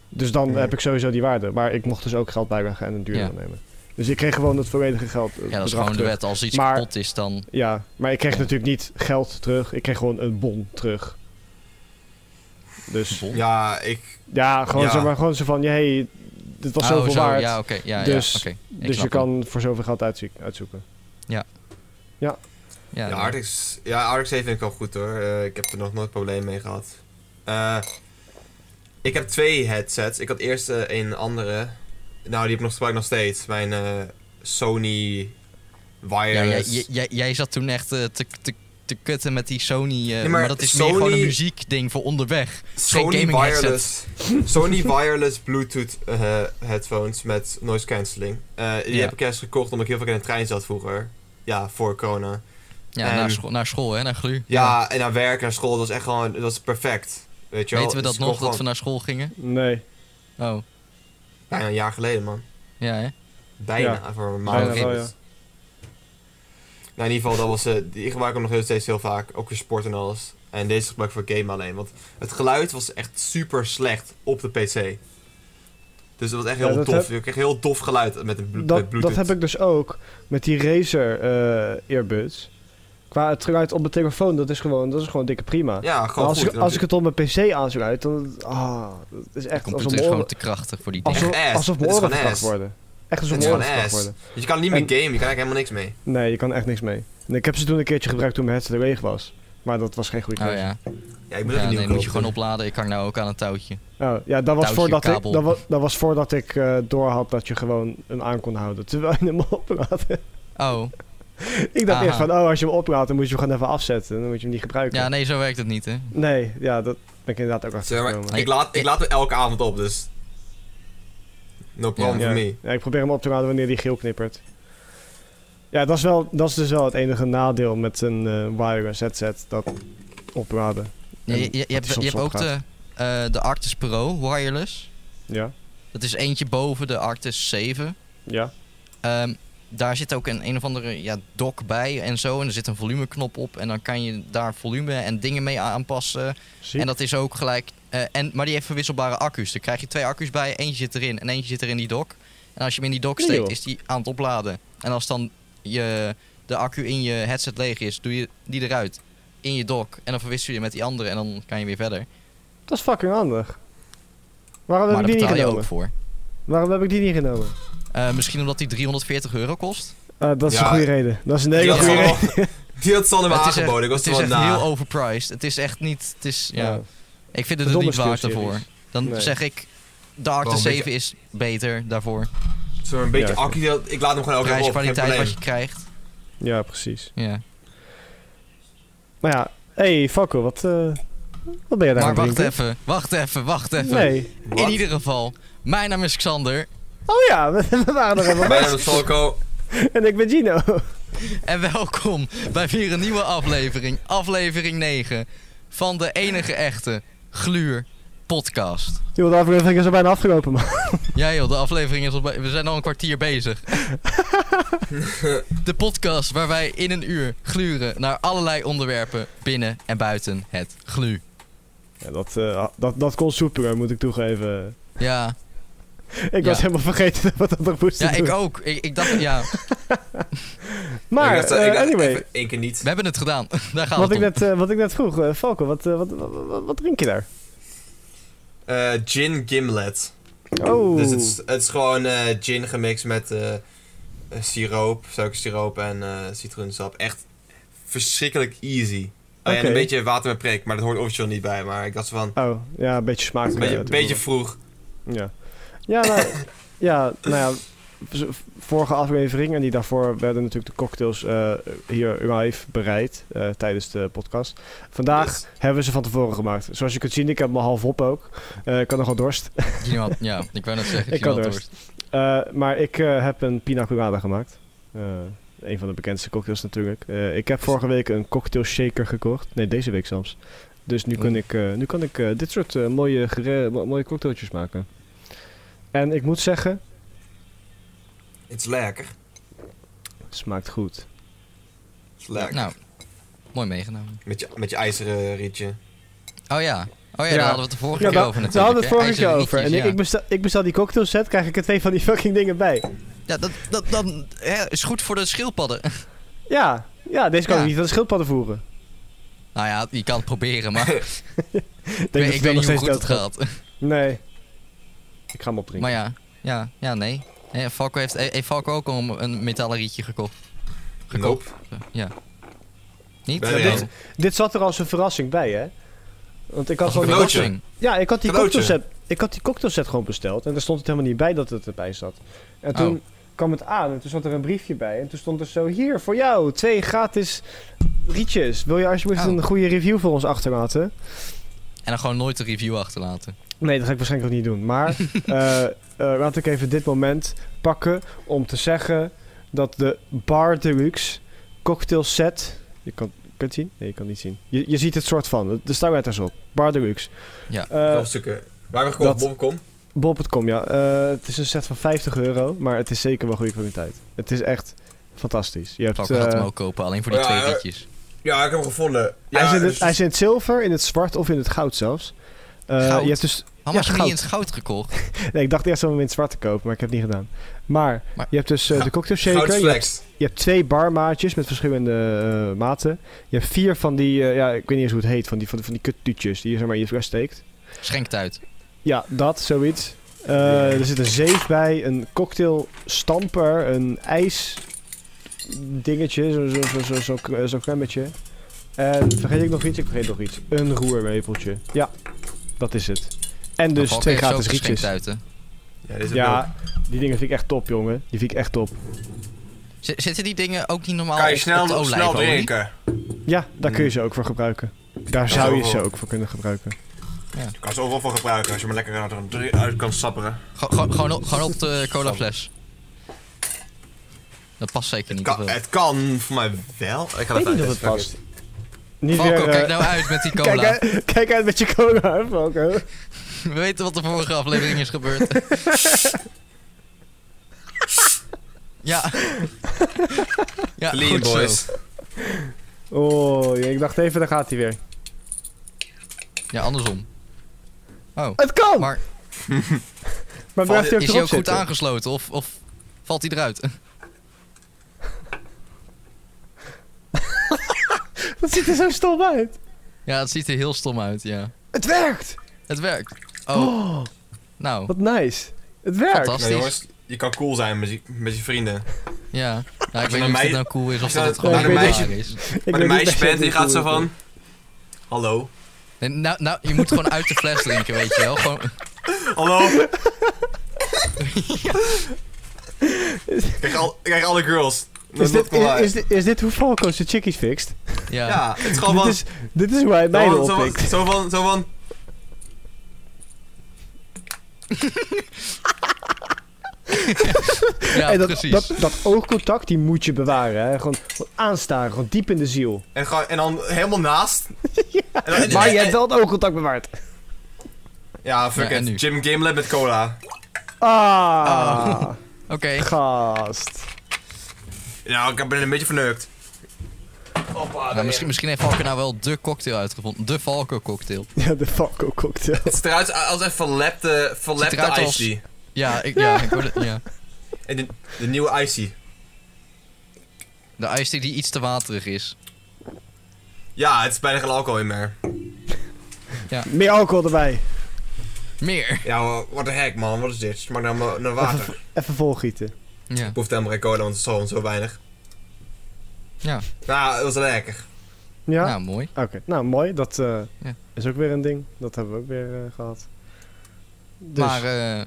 S3: Dus dan
S1: Mhm.
S3: heb ik sowieso die waarde. Maar ik mocht dus ook geld bijleggen en een duurder
S2: Ja.
S3: nemen. Dus ik kreeg gewoon het volledige geld. eh,
S2: Ja, dat is
S3: bedrag
S2: gewoon de
S3: terug.
S2: wet. Als iets
S3: Maar-
S2: kapot is, dan...
S3: Ja, maar ik kreeg natuurlijk niet geld terug. Ik kreeg gewoon een bon terug. Dus
S1: Ja, ik.
S3: ja, gewoon,
S1: Ja.
S3: Zo, maar gewoon zo van, ja, hey, dit was
S2: Oh,
S3: zoveel
S2: zo,
S3: waard.
S2: Ja, oké. ja,
S3: Dus-
S2: ja, oké. Ik
S3: dus je
S2: snap
S3: kan voor zoveel geld uitzie- uitzoeken.
S2: hem. Ja,
S1: Ja,
S2: ja.
S1: Artix, ja, Artix 7 vind ik wel goed hoor. Eh, ik heb er nog nooit probleem mee gehad. Eh, ik heb twee headsets. Ik had eerst eh, een andere. Nou, die heb ik nog, gebruik ik nog steeds. Mijn eh, Sony
S2: Ja, jij,
S1: Wireless.
S2: jij- jij, jij zat toen echt eh, te, te, te kutten met die Sony... eh,
S1: Nee,
S2: maar,
S1: maar
S2: dat is
S1: Sony-
S2: meer gewoon een muziekding voor onderweg.
S1: Sony
S2: gaming
S1: wireless, Sony wireless Bluetooth eh, headphones met noise cancelling. Eh, die
S2: Ja.
S1: heb ik eerst gekocht omdat ik heel vaak in de trein zat vroeger. Ja, voor corona.
S2: Ja,
S1: En-
S2: naar, school, naar school, hè, naar glu.
S1: Ja, en naar werk, naar school, dat was echt gewoon, dat was perfect. Weet je wel?
S2: Weten
S1: Dus
S2: we dat
S1: ik
S2: nog,
S1: kon
S2: dat we
S1: gewoon-
S2: naar school gingen?
S3: Nee.
S2: Oh,
S1: Bijna een jaar geleden, man.
S2: ja, hè?
S1: Bijna, voor een maand.
S2: Bijna
S3: wel, ja.
S1: Nou, in ieder geval, dat was, eh, die gebruik ik nog heel steeds heel vaak. Ook voor sport en alles. En deze gebruik ik voor game alleen. Want het geluid was echt super slecht op de PC. Dus dat was echt
S3: Ja,
S1: heel
S3: dat
S1: dof.
S3: heb-
S1: Je kreeg heel dof geluid met een blu- met
S3: dat,
S1: Bluetooth.
S3: dat heb ik dus ook met die Razer eh, earbuds. Qua het geluid op mijn telefoon, dat is gewoon, dat is gewoon dikke prima.
S1: Ja,
S3: Maar
S1: gewoon
S3: Nou, als,
S1: goed.
S3: ik, als ik het op mijn pc aansluit, dan ah, dat is
S2: De
S3: echt alsof
S2: computer
S3: mijn
S2: is
S3: oren,
S2: gewoon te krachtig voor die dingen.
S3: alsof,
S1: Echt ass.
S3: alsof mijn
S1: Dit is
S3: oren
S1: gewoon ass.
S3: verkracht worden. Echt alsof
S1: Het is
S3: mijn
S1: gewoon
S3: oren verkracht
S1: ass.
S3: worden.
S1: Dus je kan niet meer
S3: En-
S1: gamen, je kan eigenlijk helemaal niks mee.
S3: Nee, je kan er echt niks mee. En ik heb ze toen een keertje gebruikt toen mijn headset leeg was. Maar dat was geen goede
S2: Oh
S3: keuze.
S2: ja,
S1: Ja, ik ben
S2: ja
S1: een
S2: nee,
S1: nieuwe
S2: moet je
S1: kopen.
S2: gewoon opladen. Ik hang nou ook aan een touwtje.
S3: Oh, ja, dat was
S2: Touwtje,
S3: voordat ik,
S2: kabel.
S3: dat was, dat was voordat ik eh doorhad dat je gewoon een aan kon houden. Terwijl je hem oplaadde.
S2: Oh,
S3: ik dacht echt
S2: Aha.
S3: van, oh, als je hem oplaadt, dan moet je hem gewoon even afzetten. Dan moet je hem niet gebruiken.
S2: ja, nee, zo werkt het niet, hè?
S3: Nee, ja, dat ben ik inderdaad ook
S1: Zeg maar,
S3: achtergekomen.
S1: ik, laat, ik laat hem elke avond op, dus... No problem
S2: Ja.
S1: for
S3: ja.
S1: me.
S3: Ja, ik probeer hem op te raden wanneer die geel knippert. Ja, dat is, wel, dat is dus wel het enige nadeel met een eh wireless headset, dat opladen.
S2: Ja,
S3: En
S2: je, je,
S3: dat
S2: je
S3: die
S2: hebt, je
S3: soms
S2: hebt ook de,
S3: opgaat.
S2: eh, de Arctis Pro wireless.
S3: Ja,
S2: Dat is eentje boven de Arctis 7.
S3: ja.
S2: Ehm, daar zit ook een, een of andere ja, dock bij en zo. En er zit een volumeknop op. En dan kan je daar volume en dingen mee aanpassen.
S3: Zie.
S2: En dat is ook gelijk. eh, en, maar die heeft verwisselbare accu's. Daar krijg je twee accu's bij. Eentje zit erin en eentje zit er in die dock. En als je hem in die dock
S3: Nee,
S2: steekt,
S3: joh.
S2: is die aan het opladen. En als dan je, de accu in je headset leeg is, doe je die eruit. In je dock. En dan verwissel je met die andere en dan kan je weer verder.
S3: Dat is fucking handig. Waarom
S2: Maar
S3: heb
S2: daar
S3: ik die niet
S2: betaal je ook voor.
S3: genomen? Waarom heb ik die niet genomen?
S2: Eh, misschien omdat die 340 euro kost.
S3: Eh, dat is
S1: Ja.
S3: een goede reden. Dat is een
S1: Die
S3: hele
S1: had
S3: goede
S1: Sander
S3: reden.
S1: al- [LAUGHS] Die had Sander me
S2: het is echt,
S1: aangeboden. Ik was
S2: het
S1: er
S2: is
S1: wel
S2: echt
S1: na.
S2: heel overpriced. Het is echt niet. Het is, ja.
S3: Ja.
S2: Ik vind het er
S3: Nou, Verdomme
S2: niet waard
S3: skillseries.
S2: daarvoor. Dan
S3: Nee.
S2: zeg ik, de Arctis
S1: Wel een
S2: 7 is beter daarvoor.
S1: Zo een beetje
S3: Ja, oké.
S1: accu. die had- Ik laat hem gewoon elke keer
S2: Prijs,
S1: op. Geen
S2: kwaliteit, wat
S1: probleem.
S2: je krijgt.
S3: ja, precies.
S2: Ja.
S3: Maar ja, hey, Fakko, wat, eh, wat ben jij daar
S2: Maar
S3: aan het
S2: wacht
S3: drinken?
S2: even, wacht even, wacht even.
S3: Nee.
S2: In
S1: Wat?
S2: ieder geval, mijn naam is Xander
S3: Oh ja, [LAUGHS] we, we waren er helemaal
S1: Mijn naam is Falco.
S3: En ik ben Gino.
S2: en welkom bij weer een nieuwe aflevering, aflevering 9 van de enige echte Gluur podcast.
S3: Joh, de aflevering is al bijna afgelopen, man.
S2: Ja joh, de aflevering is al bij- we zijn al een kwartier bezig. De podcast waar wij in een uur gluren naar allerlei onderwerpen binnen en buiten het glu.
S3: Ja, dat, eh, dat, dat kon soepeler, moet ik toegeven.
S2: Ja,
S3: Ik
S2: Ja.
S3: was helemaal vergeten [LAUGHS] wat dat nog moest
S2: ja
S3: doen.
S2: ik ook. Ik, ik dacht, ja,
S3: Maar,
S1: Ik dacht, eh,
S3: eh,
S1: ik dacht
S3: anyway.
S1: even één keer niet.
S2: we hebben het gedaan. [LAUGHS] Daar gaat
S3: Wat
S2: het
S3: ik,
S2: om.
S3: net, eh, wat ik net vroeg, eh Falco, wat, eh, wat, wat, wat- wat drink je daar?
S1: Eh, gin Gimlet.
S3: Oh,
S1: Dus het is, het is gewoon eh, gin gemixt met eh, eh, siroop, suikersiroop en eh, citroensap. Echt verschrikkelijk easy. Oh ja, en
S3: Oké.
S1: een beetje water met prik, maar dat hoort officieel niet bij. Maar ik dacht van,
S3: oh ja, een beetje smaak.
S1: een beetje,
S3: eh,
S1: beetje vroeg.
S3: Ja. Ja, nou, ja, nou ja. v- Vorige aflevering en die daarvoor werden natuurlijk de cocktails eh, hier live bereid eh, tijdens de podcast. Vandaag
S1: Dus-
S3: hebben we ze van tevoren gemaakt. Zoals je kunt zien, ik heb me half op ook. Eh, ik had nogal dorst. [LAUGHS]
S2: Gino had- ja, ik wou net zeggen.
S3: Ik
S2: Gino
S3: had
S2: had
S3: dorst. Eh, maar ik eh, heb een pina colada gemaakt. Eh, een van de bekendste cocktails natuurlijk. Eh, ik heb vorige week een cocktail shaker gekocht. Nee, deze week zelfs. Dus nu kan ik, eh, nu kan ik eh, dit soort eh, mooie, gere- mo- mooie cocktailtjes maken. En ik moet zeggen,
S1: Het is lekker.
S3: Smaakt goed.
S1: Het is lekker.
S2: Nou, mooi meegenomen.
S1: Met, je, met je ijzeren rietje.
S2: Oh ja, oh ja,
S3: Ja.
S2: daar hadden we het de vorige keer over natuurlijk.
S3: daar hadden we het
S2: hè?
S3: vorige keer
S2: IJzeren
S3: over. En
S2: rietjes,
S3: ik, ik,
S2: ja.
S3: bestel, ik bestel die cocktail set, krijg ik er twee van die fucking dingen bij.
S2: Ja, dat, dat, dat hè, is goed voor de schildpadden. [LAUGHS]
S3: Ja, ja deze kan
S2: Ja.
S3: ik niet aan de schildpadden voeren.
S2: Nou ja, je kan het proberen,
S3: [LAUGHS]
S2: maar ik,
S3: Ik
S2: weet-
S3: dat
S2: ik
S3: het
S2: weet
S3: wel
S2: niet hoe goed
S3: dood
S2: het gaat.
S3: Nee. Ik ga hem opdrinken.
S2: Maar ja, ja, ja, nee. Hè, Falco heeft, heeft Falco ook al een- een metalen rietje gekocht. Gekocht? eh,
S1: Nope.
S2: Ja. Niet?
S1: Ben je
S2: Ja,
S1: er
S2: dit-
S1: een?
S3: Dit zat er als een verrassing bij, hè? Want ik had
S2: als een
S3: gewoon...
S1: cadeautje.
S2: verrassing.
S3: Ja, ik had die
S1: Cadeautje.
S3: cocktail set... Ik had die cocktail set gewoon besteld. En daar stond het helemaal niet bij dat het erbij zat. En toen
S2: Oh.
S3: kwam het aan en toen zat er een briefje bij. En toen stond er zo... Hier, voor jou, twee gratis rietjes. Wil je alsjeblieft
S2: Oh.
S3: een goede review voor ons achterlaten?
S2: En dan gewoon nooit een review achterlaten.
S3: Nee, dat ga ik waarschijnlijk ook niet doen.
S2: [LAUGHS]
S3: Maar eh, eh, laat ik even dit moment pakken om te zeggen dat de Bar Deluxe cocktail set. Je kan kunt het zien? Nee, je kan het niet zien. Je, je ziet het soort van. De letters op. Bar Deluxe.
S2: Ja.
S3: Eh,
S1: Opzoeken. Waar we gekocht?
S3: dat-
S1: Bobcom?
S3: Bob.com, ja. Eh, het is een set van 50 euro, maar het is zeker wel goede kwaliteit. Het is echt fantastisch. Je hebt,
S2: Falco gaat
S3: eh,
S2: hem ook kopen, alleen voor die
S1: ja,
S2: twee
S1: eh,
S2: rietjes.
S1: Ja, ik heb hem gevonden. Ja,
S3: hij, is in
S1: dus-
S3: het, hij is in het zilver, in het zwart of in het goud zelfs. Eh,
S2: Goud?
S3: Je hebt dus
S2: Hammer
S3: ja,
S2: je hem niet in
S3: goud.
S2: het goud gekocht.
S3: [LAUGHS] Nee, ik dacht eerst om hem in het zwart te kopen, maar ik heb het niet gedaan. Maar,
S2: Maar-
S3: je hebt dus eh, de cocktail
S1: Goud
S3: shaker, je hebt,
S1: flex.
S3: je hebt twee barmaatjes met verschillende eh, maten. Je hebt vier van die, eh, ja, ik weet niet eens hoe het heet, van die, van, die- van die kuttuutjes die je zeg maar in je fles steekt.
S2: Schenkt uit.
S3: Ja, dat, zoiets. Eh, er zit een zeef bij, een cocktail stamper, een ijs dingetje, zo'n zo, zo, zo, zo, zo, eh, zo'n klemmetje. En vergeet ik nog iets? Ik vergeet nog iets. Een roerlepeltje. Ja, dat is het. En
S2: Maar
S3: dus
S2: Falco
S3: twee
S2: heeft
S3: gratis
S2: zo geschenkt
S3: rietjes.
S2: uit, hè.
S1: Ja, dit is ja.
S3: Ja, die dingen vind ik echt top, jongen. Die vind ik echt top.
S2: Z- Zitten die dingen ook niet normaal
S1: Kan je
S2: op- op de
S1: snel, snel
S2: Oh, olijfolie?
S1: drinken.
S3: Ja, daar
S1: Mm.
S3: kun je ze ook voor gebruiken. Daar zou je ze ook voor kunnen gebruiken.
S1: Je kan er zoveel voor gebruiken als je maar lekker uit, een dri- uit kan sapperen.
S2: Gewoon- Gewoon gewoon op- gewoon op de colafles. Dat past zeker
S1: Het
S2: niet.
S1: kan,
S2: op, eh.
S1: het kan voor mij wel. Ik ga
S4: Ik weet
S1: even
S4: niet of het past.
S3: Niet
S2: Falco,
S3: weer, eh,
S2: kijk nou uit
S1: [LAUGHS]
S2: met die cola.
S3: kijk, uit- [LAUGHS] kijk uit met je cola, hè, Falco.
S2: We weten wat de vorige aflevering is
S1: [LAUGHS]
S2: gebeurd. ja. ja,
S1: Lean
S2: goed zo.
S1: boys.
S3: Oh, ik dacht even, daar gaat hij weer.
S2: Ja, andersom. Oh.
S3: Het kan!
S2: Maar-
S3: Maar, blijft hij ook
S2: is hij
S3: erop
S2: ook goed
S3: zitten?
S2: aangesloten of, of valt hij eruit? [LAUGHS]
S3: Dat ziet er zo stom uit.
S2: ja, het ziet er heel stom uit, ja.
S3: Het werkt!
S2: Het werkt. Oh,
S3: Oh,
S2: nou.
S3: wat nice. Het werkt.
S2: Fantastisch.
S1: Nou jongens, je kan cool zijn met je, met je vrienden.
S2: Ja. Nou,
S1: naar
S2: ik weet niet of
S1: mij-
S2: dit nou cool is of
S1: als je
S2: dat
S1: naar-
S2: het gewoon
S3: naar
S2: een
S3: de
S2: meisje
S1: meisje-
S2: is.
S3: Ik
S1: Maar de
S3: weet niet
S1: meisje
S3: per se
S1: bent, die
S3: hoe
S1: gaat
S3: het
S1: zo van...
S3: werkt.
S1: Hallo?
S2: Nee, nou, nou, je moet gewoon uit de fles drinken, weet je wel. Gewoon,
S1: Hallo? Kijk, al, kijk alle girls. Dat
S3: Is dit,
S1: komt wel
S3: is,
S1: uit.
S3: is, dit- is dit hoe Falco zijn chickies fixt?
S2: ja.
S1: ja, het is gewoon
S3: Dit
S1: van...
S3: is, dit is hoe hij mij
S1: zo, van,
S3: oppikt.
S1: zo van... Zo van...
S2: Ja,
S3: En dat,
S2: precies.
S3: dat, dat oogcontact, die moet je bewaren. Hè? Gewoon, gewoon aanstaren, gewoon diep in de ziel.
S1: En, gewoon, en dan helemaal naast. En dan-
S3: Maar
S1: en- en-
S3: je hebt wel het oogcontact bewaard.
S1: Ja, fuck
S2: Ja, en
S1: it.
S2: nu?
S1: Jim Gamelab met cola.
S3: Ah,
S2: Oké.
S3: gast.
S1: Nou, ik ben een beetje verneukt. Hoppa,
S2: Nou, misschien, misschien heeft Valken nou wel de cocktail uitgevonden. De Valken cocktail.
S3: Ja, de Falco cocktail.
S1: Het ziet eruit als een verlepte,
S2: Het ziet
S1: verlepte
S2: eruit als-
S1: Icy.
S2: Ja, ik, ja, ik hoorde het. Ja.
S1: En de, de nieuwe Icy.
S2: De ijsthee die iets te waterig is.
S1: Ja, het is bijna geen alcohol in meer.
S3: Meer alcohol erbij.
S2: Meer.
S1: Ja, what the heck man, wat is dit? Smaakt naar, ma- naar
S2: [LAUGHS]
S1: water. Ik
S3: Even volgieten.
S2: Ja.
S1: proef helemaal geen cola, want het is gewoon zo weinig.
S2: Ja.
S1: Nou, dat was lekker.
S3: Ja?
S2: Nou, mooi.
S3: Oké, nou mooi. Dat eh,
S2: Ja.
S3: is ook weer een ding. Dat hebben we ook weer eh, gehad. Dus,
S2: Maar, eh,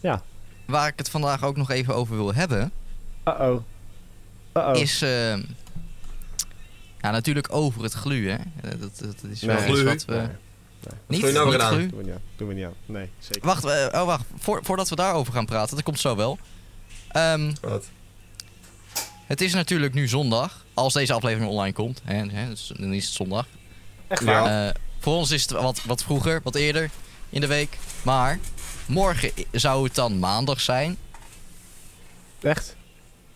S3: Ja.
S2: Waar ik het vandaag ook nog even over wil hebben,
S3: uh-oh. Uh-oh.
S2: is. eh, ja, natuurlijk over het glu, hè. Eh, Dat, dat, dat is wel
S3: Nee.
S2: iets
S1: Glu?
S2: wat we.
S3: Nee,
S2: Niet,
S1: Wat heb je nou
S2: niet
S1: gedaan?
S2: glu.
S3: doen we niet aan. Doen we niet aan. Nee, zeker.
S2: Wacht, eh, oh, wacht. Voor, voordat we daarover gaan praten, dat komt zo wel. Ehm,
S1: Wat?
S2: het is natuurlijk nu zondag, als deze aflevering online komt. Hè, hè, dus dan is het zondag.
S3: Echt
S1: waar?
S2: Eh, voor ons is het wat, wat vroeger, wat eerder in de week. Maar morgen i- zou het dan maandag zijn.
S3: Echt?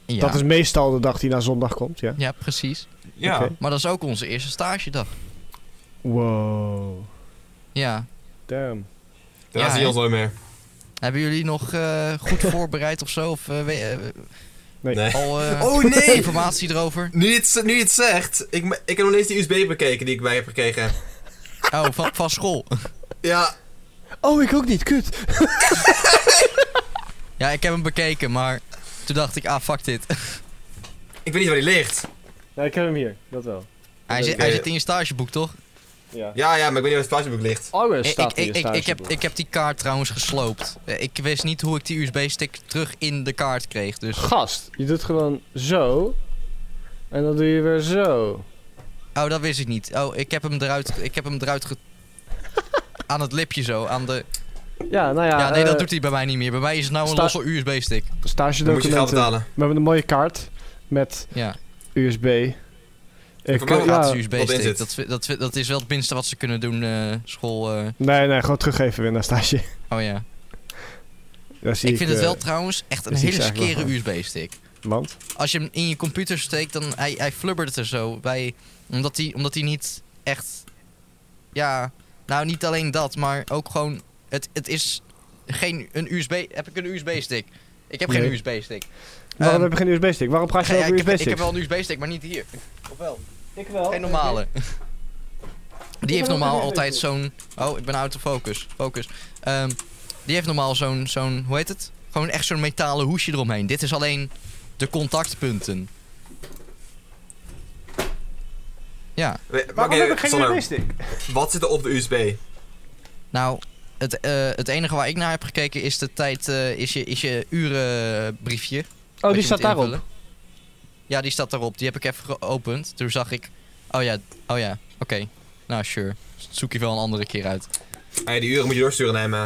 S2: Ja,
S3: Dat is meestal de dag die na zondag komt, ja?
S2: ja precies.
S1: Ja.
S3: Oké.
S2: Maar dat is ook onze eerste stagedag.
S3: Wow.
S2: Ja.
S3: Damn.
S1: Daarna zie
S2: Ja, hè?
S1: je ons nooit meer.
S2: Hebben jullie nog eh, goed voorbereid of zo? Of eh, we- eh,
S3: Nee.
S1: Nee.
S2: al eh,
S1: Oh, nee!
S2: [LAUGHS] informatie erover?
S1: Nu je het, nu je het zegt, ik, me- ik heb nog eens die USB bekeken die ik bij heb gekregen.
S2: Oh, van, van school.
S1: Ja,
S3: Oh, ik ook niet. Kut.
S2: Ja, ik heb hem bekeken, maar toen dacht ik, ah, fuck dit.
S1: ik weet niet waar die ligt.
S3: Nou, ik heb hem hier. Dat wel.
S2: Hij, zit,
S1: Oké.
S2: hij zit in je stageboek, toch?
S3: Ja.
S1: Ja, ja, maar ik weet niet waar het plaatsboek ligt.
S3: Alles
S2: Ik,
S3: staat
S2: ik,
S3: in je
S2: ik, ik, ik heb,
S3: stageboek.
S2: ik heb die kaart trouwens gesloopt. Eh, Ik wist niet hoe ik die USB-stick terug in de kaart kreeg,
S3: [LAUGHS]
S2: dus...
S3: Gast, je doet gewoon zo. En dan doe je weer zo.
S2: Oh, dat wist ik niet. Oh, ik heb hem eruit. Ik heb hem eruit
S3: [LAUGHS]
S2: ge... aan het lipje zo. Aan de...
S3: Ja, nou ja.
S2: ja, nee, dat
S3: eh,
S2: doet hij bij mij niet meer. Bij mij is het nou een
S3: sta-
S2: losse USB-stick.
S3: Stage
S1: Dan moet je geld
S3: documenten.
S1: betalen.
S3: We hebben een mooie kaart met
S2: Ja,
S3: USB. Ik,
S1: Voor mij
S3: eh,
S1: wel
S2: gratis
S3: ja,
S1: wat in
S2: USB-stick.
S1: zit.
S2: Dat, is- dat, is- dat is wel het minste wat ze kunnen doen, eh, school. eh.
S3: nee, nee, gewoon teruggeven weer naar stage. [LAUGHS]
S2: Oh ja.
S3: Daar zie
S2: Ik
S3: ik,
S2: vind het
S3: eh,
S2: wel trouwens echt een
S3: dus die
S2: hele
S3: is eigenlijk
S2: skere
S3: wel
S2: USB-stick.
S3: Want?
S2: Als je hem in je computer steekt, dan hij, hij flubbert het er zo bij. Omdat hij omdat hij niet echt. Ja, nou niet alleen dat, maar ook gewoon. Het, het is geen een USB. Heb ik een USB-stick? Ik heb
S3: Nee.
S2: geen USB-stick.
S3: Waarom
S2: Ehm,
S3: heb je geen USB-stick? Waarom praat je
S2: Ja,
S3: over
S2: ik, heb,
S3: USB-stick?
S2: ik heb wel een USB-stick, maar niet hier. Of wel?
S3: Oh, Ik wel.
S2: Geen normale. [LAUGHS] Die heeft normaal altijd zo'n... Oh, ik ben out of focus. Focus. Ehm, die heeft normaal zo'n... zo'n hoe heet het? Gewoon echt zo'n metalen hoesje eromheen. Dit is alleen de contactpunten. Ja,
S1: We-
S3: Waarom
S1: oké,
S3: heb ik geen
S1: Sander,
S3: USB-stick?
S1: Wat zit er op de USB?
S2: nou... Het, eh, het enige waar ik naar heb gekeken is de tijd... eh, is, je, is je urenbriefje.
S3: Oh,
S2: Wat
S3: die
S2: je
S3: staat
S2: moet
S3: daarop.
S2: invullen. Ja, die staat daarop. Die heb ik even geopend. Toen zag ik... Oh ja, oh ja, oké. Nou, sure. Zoek je wel een andere keer uit.
S1: Hey, die uren moet je doorsturen naar hem, eh,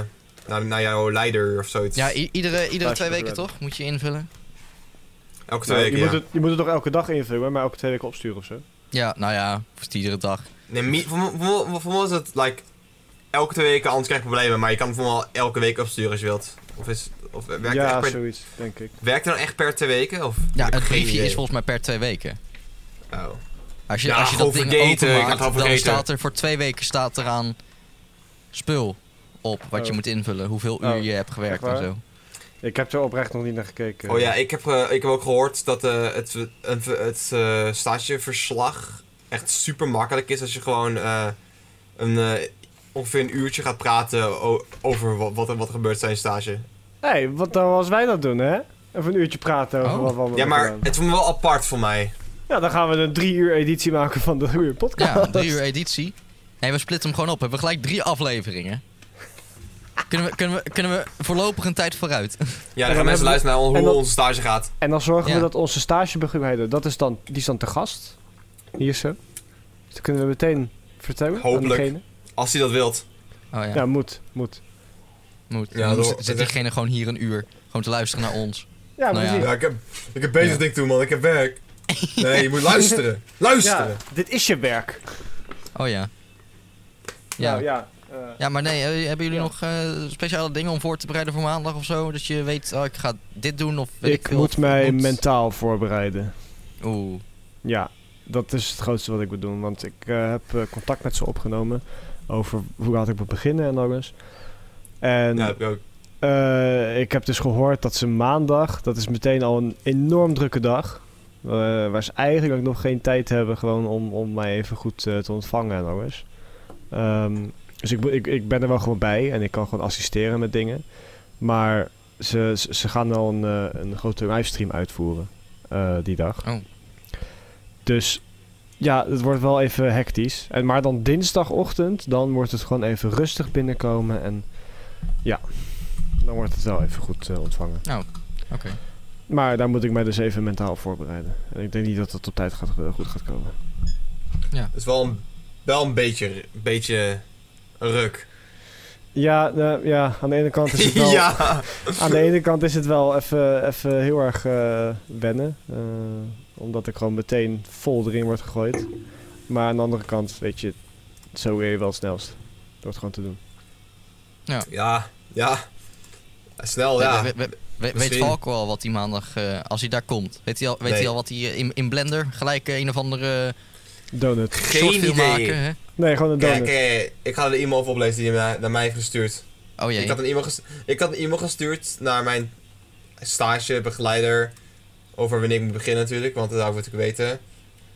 S1: naar, naar jouw leider of zoiets.
S2: Ja, i- iedere, iedere
S3: Thuis
S2: twee
S3: met
S2: weken
S3: de
S2: toch? Moet je invullen.
S1: Elke twee
S3: Nou, je,
S1: weken,
S3: moet
S1: ja.
S3: het, je moet het toch elke dag invullen, maar elke twee weken opsturen of zo?
S2: Ja, nou ja, voor iedere dag.
S1: Nee, mi- voor, me- voor, me- voor me is het, like, elke twee weken, anders krijg je problemen. Maar je kan het voor me wel elke week opsturen als je wilt. Of, is, of werkt, het
S3: ja,
S1: echt per,
S3: zoiets, denk ik.
S1: werkt het dan echt per twee weken? Of,
S2: Ja,
S1: Ik heb
S2: het
S1: geen
S2: briefje
S1: idee.
S2: is volgens mij per twee weken.
S1: Oh.
S2: Als je,
S1: Ja,
S2: als je dat
S1: gewoon
S2: ding
S1: vergeten. Ik had het al
S2: openmaakt, dan
S1: vergeten.
S2: staat er voor twee weken staat eraan spul op wat je
S3: Oh.
S2: moet invullen. Hoeveel
S3: Oh,
S2: uur je hebt gewerkt
S3: echt
S2: en
S3: waar?
S2: zo.
S3: Ik heb er oprecht nog niet naar gekeken.
S1: Oh ja, ik heb, eh, ik heb ook gehoord dat eh, het, het, het eh, stageverslag echt super makkelijk is als je gewoon eh, een, eh, ongeveer een uurtje gaat praten o- over wat, wat, er, wat er gebeurt tijdens stage.
S3: Nee, wat dan als wij dat doen, hè? Even een uurtje praten over
S2: Oh.
S3: wat we allemaal
S1: Ja, maar
S3: hebben gedaan.
S1: het vond me wel apart voor mij.
S3: Ja, dan gaan we een drie uur editie maken van de uur podcast.
S2: Ja, een drie uur editie. Nee, we splitten hem gewoon op. We hebben gelijk drie afleveringen. Kunnen we, kunnen we, kunnen we voorlopig een tijd vooruit?
S1: Ja,
S2: Oh
S3: dan
S1: dan gaan
S3: hebben we-
S1: mensen luisteren naar hoe
S3: en dan-
S1: onze stage gaat.
S3: En dan zorgen we
S2: Ja.
S3: dat onze stagebegeleider, dat is dan, die is dan te gast. Hier is ze. Dus dat kunnen we meteen vertellen
S1: Hopelijk.
S3: aan degene.
S1: Als hij dat wilt.
S2: Oh ja,
S3: Ja, moet, moet.
S2: moet.
S1: Ja,
S2: Dan
S1: door-
S2: zit- zit diegene gewoon hier een uur. Gewoon te luisteren naar ons.
S3: Ja,
S2: Nou ja.
S3: precies.
S1: ik heb, ik heb
S2: bezig Ja.
S1: ding toe, man. Ik heb werk. Nee, je moet [LAUGHS] luisteren.
S3: Ja, dit is je werk.
S2: Oh ja. Ja.
S3: Ja, nou, ja. eh,
S2: Ja, maar nee, eh, hebben jullie
S3: Ja.
S2: nog eh, speciale dingen om voor te bereiden voor maandag of zo? Dat je weet, oh, ik ga dit doen of weet ik,
S3: ik
S2: veel, of
S3: moet mij
S2: moet-
S3: mentaal voorbereiden.
S2: Oeh,
S3: Ja, dat is het grootste wat ik moet doen. Want ik eh, heb eh, contact met ze opgenomen over hoe laat ik moet beginnen en alles. En
S1: Ja, heb ik ook.
S3: Eh, ik heb dus gehoord dat ze maandag, dat is meteen al een enorm drukke dag. eh, waar ze eigenlijk nog geen tijd hebben gewoon om, om mij even goed eh, te ontvangen en alles. Ehm, dus ik, moet- ik, ik ben er wel gewoon bij en ik kan gewoon assisteren met dingen. Maar ze, ze, ze gaan wel een, eh, een grote livestream uitvoeren eh, die dag.
S2: Oh.
S3: Dus ja, het wordt wel even hectisch. En, maar dan dinsdagochtend, dan wordt het gewoon even rustig binnenkomen en dan wordt het wel even goed eh, ontvangen.
S1: Nou,
S2: oké.
S3: Maar daar moet ik mij dus even mentaal op voorbereiden. En ik denk niet dat dat op tijd gaat, eh, goed gaat komen.
S1: Het is wel een, wel een beetje, beetje ruk.
S3: Ja, nou, ja, aan de ene
S1: [LAUGHS]
S3: kant is het wel,
S1: ja.
S3: aan de ene kant is het wel even, even heel erg eh, wennen. eh, omdat ik gewoon meteen vol erin word gegooid. Maar aan de andere kant, weet je, zo weer je wel het snelst. Door het gewoon te doen.
S1: Ja, ja. Snel,
S2: We-
S1: Oh ja.
S2: we- we- we- weet
S1: misschien.
S2: Valko al wat hij maandag, eh, als hij daar komt? Weet hij al, weet
S1: Nee.
S2: hij al wat hij eh, in, in Blender gelijk eh, een of andere
S3: Donut.
S1: Geen
S2: short wil
S1: idee.
S2: maken? Hè?
S3: Nee, gewoon een donut.
S1: Kijk, eh, ik ga de e-mail even oplezen die je na- naar mij heeft gestuurd.
S2: Oh jee.
S1: Ik had, een e-mail ges- ik had een e-mail gestuurd naar mijn stagebegeleider. Over wanneer ik moet beginnen natuurlijk, want dat moet ik weten.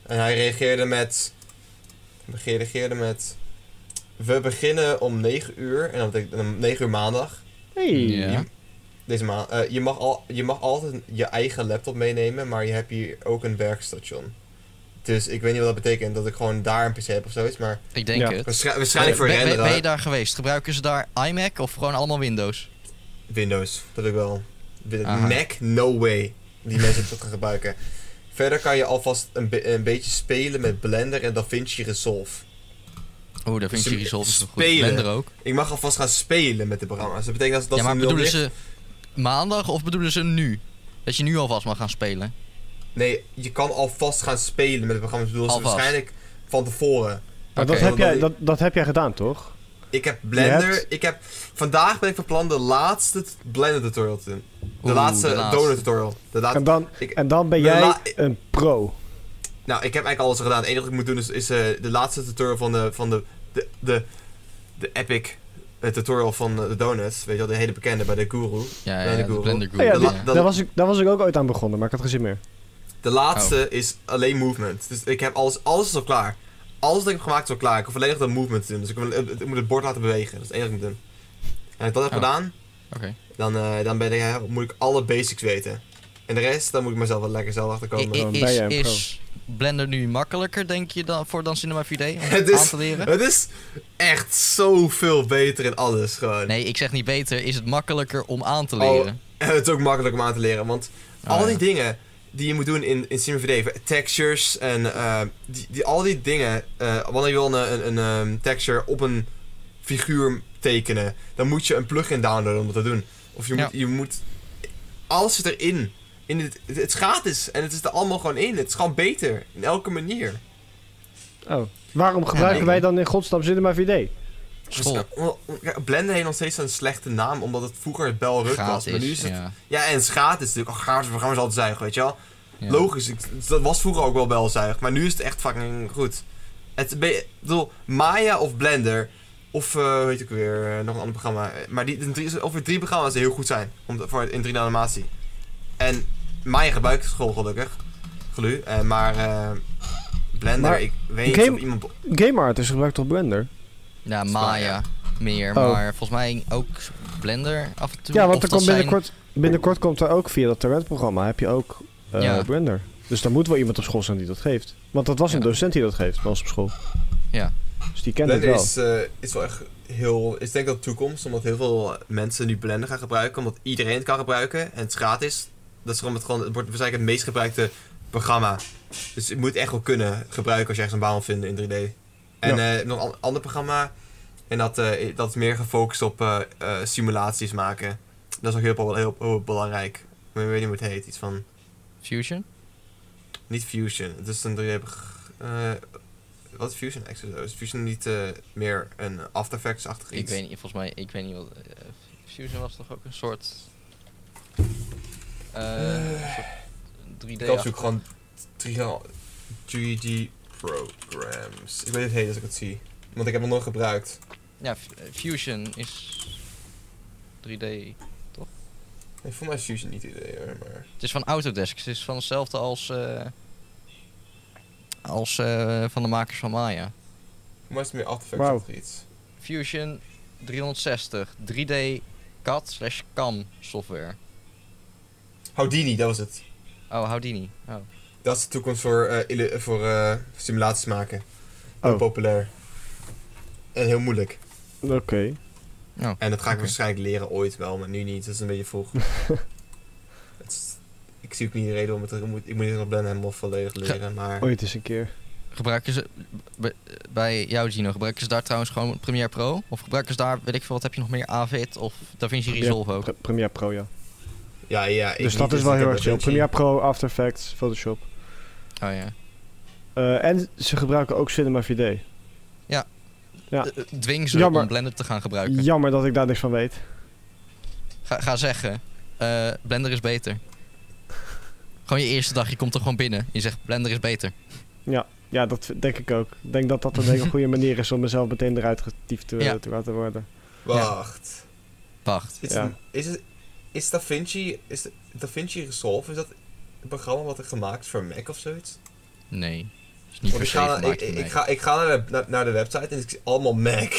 S1: En hij reageerde met... Reageerde met... We beginnen om 9 uur. En dat betekent om 9 uur maandag.
S3: Hey.
S1: Hmm.
S2: Ja.
S1: Deze maand. Eh, je, mag al, je mag altijd je eigen laptop meenemen, maar je hebt hier ook een werkstation. Dus ik weet niet wat dat betekent, dat ik gewoon daar een PC heb of zoiets, maar
S2: Ik denk
S3: Ja.
S2: het. Eh,
S1: waarschijn- waarschijnlijk voor
S2: Ben- ben, ben
S1: renderen.
S2: je daar geweest? Gebruiken ze daar iMac of gewoon allemaal Windows?
S1: Windows, dat ik wel. Win-
S2: Aha.
S1: Mac, no way. Die mensen dat gaan gebruiken. Verder kan je alvast een, be- een beetje spelen met Blender en DaVinci Resolve.
S2: Oeh, daar vind
S1: Ze-
S2: je Resolve is toch goed.
S1: spelen.
S2: Blender ook.
S1: Ik mag alvast gaan spelen met de programma's. Dat betekent dat, dat
S2: ja, maar
S1: ze nul
S2: bedoelen
S1: licht-
S2: ze maandag of bedoelen ze nu? Dat je nu alvast mag gaan spelen?
S1: Nee, je kan alvast gaan spelen met de programma's. Ik bedoel, ze
S2: Alvast.
S1: waarschijnlijk van tevoren.
S3: Maar
S2: Oké.
S3: dat, heb jij,
S1: Want dat-
S3: dat, dat heb jij gedaan, toch?
S1: Ik heb
S3: Je
S1: Blender.
S3: hebt-
S1: Ik heb, vandaag ben ik van plan de laatste t- Blender tutorial te doen. De
S2: Oeh,
S1: laatste
S2: de laatste.
S1: donut tutorial. De laatste.
S3: En dan,
S1: ik-
S3: en dan ben
S1: de
S3: jij
S1: la-
S3: een pro.
S1: Nou, ik heb eigenlijk alles gedaan. Het enige wat ik moet doen is, is eh, de laatste tutorial van de, van de, de, de, de epic eh, tutorial van eh, de donuts. Weet je wel, de hele bekende bij de guru.
S2: Ja, ja,
S1: Blender
S2: ja, de
S1: Guru.
S2: Blender
S3: Oh
S2: Guru.
S3: ja,
S1: De la-
S2: ja.
S1: de-
S3: Daar, was ik, daar was ik ook ooit aan begonnen, maar ik had geen zin meer.
S1: De laatste
S2: Oh.
S1: is alleen movement. Dus ik heb alles, alles is al klaar. Alles wat ik heb gemaakt is al klaar. Ik hoef alleen nog dat movement te doen. Dus ik, wil- eh, ik moet het bord laten bewegen. Dat is het enige wat ik moet doen. En als ik dat heb
S2: Oh.
S1: gedaan,
S2: Oké.
S1: dan, eh, dan ben ik, eh, moet ik alle basics weten. En de rest, dan moet ik mezelf wel lekker zelf achterkomen.
S2: I- i-
S3: dan ben
S2: is,
S3: jij een pro.
S2: is Blender nu makkelijker, denk je, dan, voor dan Cinema 4D?
S1: [LAUGHS]
S2: Om
S1: [LAUGHS] Het
S2: het
S1: is-
S2: aan te leren?
S1: Het is echt zoveel beter in alles gewoon.
S2: Nee, ik zeg niet beter. Is het makkelijker om aan
S1: Oh,
S2: te leren?
S1: En het is ook makkelijk om aan te leren, want
S2: Oh,
S1: al
S2: ja.
S1: die dingen die je moet doen in, in SimVD, textures en eh, die, die, al die dingen, eh, wanneer je wil een, een, een ehm, texture op een figuur tekenen, dan moet je een plugin downloaden om dat te doen. Of je moet,
S2: Ja.
S1: je moet alles zit erin. In het, het, het is gratis en het is er allemaal gewoon in. Het is gewoon beter. In elke manier.
S3: Oh. Waarom gebruiken
S1: ik-
S3: wij dan in godsnaam Cinema 4D?
S1: Dus,
S2: School.
S1: Omdat- omdat- Blender heeft nog steeds een slechte naam, omdat het vroeger Belruk was. Maar nu
S2: Gratis.
S1: is het... Ja,
S2: Ja.
S1: en het is gratis natuurlijk. Oh, gratis programma's altijd zuig, weet je wel.
S2: Ja.
S1: Logisch, ik- dat was vroeger ook wel belzuig, maar nu is het echt fucking goed. Het, be- ik bedoel, Maya of Blender, of eh weet ik weer, eh, nog een ander programma. eh, Maar die, de drie, over drie programma's die heel goed zijn om, voor, in 3D animatie. En Maya gebruikt school gelukkig, gelu, eh, maar eh, Blender,
S3: Maar
S1: ik weet niet
S3: game-
S1: of iemand...
S3: Game artist gebruikt toch Blender?
S2: Ja,
S1: Maya.
S2: Maya meer,
S3: Oh.
S2: maar volgens mij ook Blender af en toe.
S3: Ja, want
S2: Of
S3: er
S2: dat
S3: komt
S2: zijn-
S3: binnenkort, binnenkort komt er ook via dat talentprogramma heb je ook eh,
S2: Ja.
S3: Blender. Dus daar moet wel iemand op school zijn die dat geeft. Want dat was een
S2: Ja.
S3: docent die dat geeft bij ons op school.
S2: Ja.
S3: Dus die kent
S1: Blender
S3: het wel.
S1: is, eh, is wel echt heel... Ik denk dat de toekomst, omdat heel veel mensen nu Blender gaan gebruiken. Omdat iedereen het kan gebruiken en het is gratis. Dat is gewoon, het, gewoon, het wordt waarschijnlijk het meest gebruikte programma. Dus je moet het echt wel kunnen gebruiken als je ergens een baan wil vinden in 3D. En eh, nog een an- ander programma. En dat, eh, dat is meer gefocust op eh, eh, simulaties maken. Dat is ook heel, heel, heel, belangrijk. Maar ik weet niet hoe het heet. Iets van...
S2: Fusion?
S1: Niet Fusion. Het is een 3D. beg- eh, wat is Fusion eigenlijk? Is Fusion niet eh, meer een After Effects-achtig iets?
S2: Ik weet niet, volgens mij, ik weet niet wat. eh, Fusion was toch ook een soort. eh, soort 3D.
S1: Ik kan zoeken gewoon 3D 3D programs. Ik weet het heet als ik het zie. Want ik heb het nooit gebruikt.
S2: Ja, f- eh, Fusion is 3D.
S1: Nee, voor mij is Fusion niet idee hoor, maar...
S2: Het is van Autodesk. Het is van hetzelfde als. eh, als eh, van de makers van Maya.
S1: Voor mij is het meer After
S3: Wauw.
S1: Effects-achtig iets.
S2: Fusion 360 3D CAD slash CAM software.
S1: Houdini, dat was het.
S2: Oh, Houdini. Oh.
S1: Dat is de toekomst voor, eh, illu- voor eh, simulaties maken. Heel
S3: Oh, oké.
S1: populair. En heel moeilijk.
S2: Oh.
S1: En dat ga ik
S2: Oké.
S1: waarschijnlijk leren ooit wel, maar nu niet. Dat is een beetje
S3: [LAUGHS]
S1: vroeg. Het is- ik zie ook niet de reden waarom het... Ik moet, ik moet dit nog blenden helemaal volledig leren, maar...
S3: Ooit eens een keer.
S2: Gebruiken ze b- bij jou, Gino, gebruiken ze daar trouwens gewoon Premiere Pro? Of gebruiken ze daar, weet ik veel, wat heb je nog meer, Avid of DaVinci
S3: Premiere
S2: Resolve ook? Oh,
S3: Pre- Premiere Pro, ja.
S1: Ja, ja. ik
S3: Dus
S1: niet,
S3: dat is wel
S1: ik
S3: heel
S1: heb
S3: erg chill.
S1: DaVinci.
S3: Premiere Pro, After Effects, Photoshop.
S2: Oh ja.
S3: Eh, en ze gebruiken ook Cinema 4D. Ja.
S2: Eh, eh, Dwing ze
S3: Jammer.
S2: om Blender te gaan gebruiken.
S3: Jammer dat ik daar niks van weet.
S2: Ga, ga zeggen, eh, Blender is beter. gewoon je eerste dag, je komt er gewoon binnen. en Je zegt, Blender is beter.
S3: Ja, dat denk ik ook. Ik denk dat dat een hele goede manier is om mezelf meteen eruit getiefd te,
S2: Ja.
S3: te laten worden.
S1: Wacht.
S2: Wacht.
S1: Is,
S3: Ja.
S1: het- is, het, is Da Vinci... Is de- Da Vinci Resolve, is dat een programma wat er gemaakt is voor Mac of zoiets?
S2: Nee. Is niet
S1: Want
S2: per
S1: ik
S2: se
S1: ga,
S2: gemaakt
S1: ik,
S2: voor
S1: ik,
S2: mij.
S1: ga, ik ga naar, de, naar, naar de website en ik zie allemaal Mac.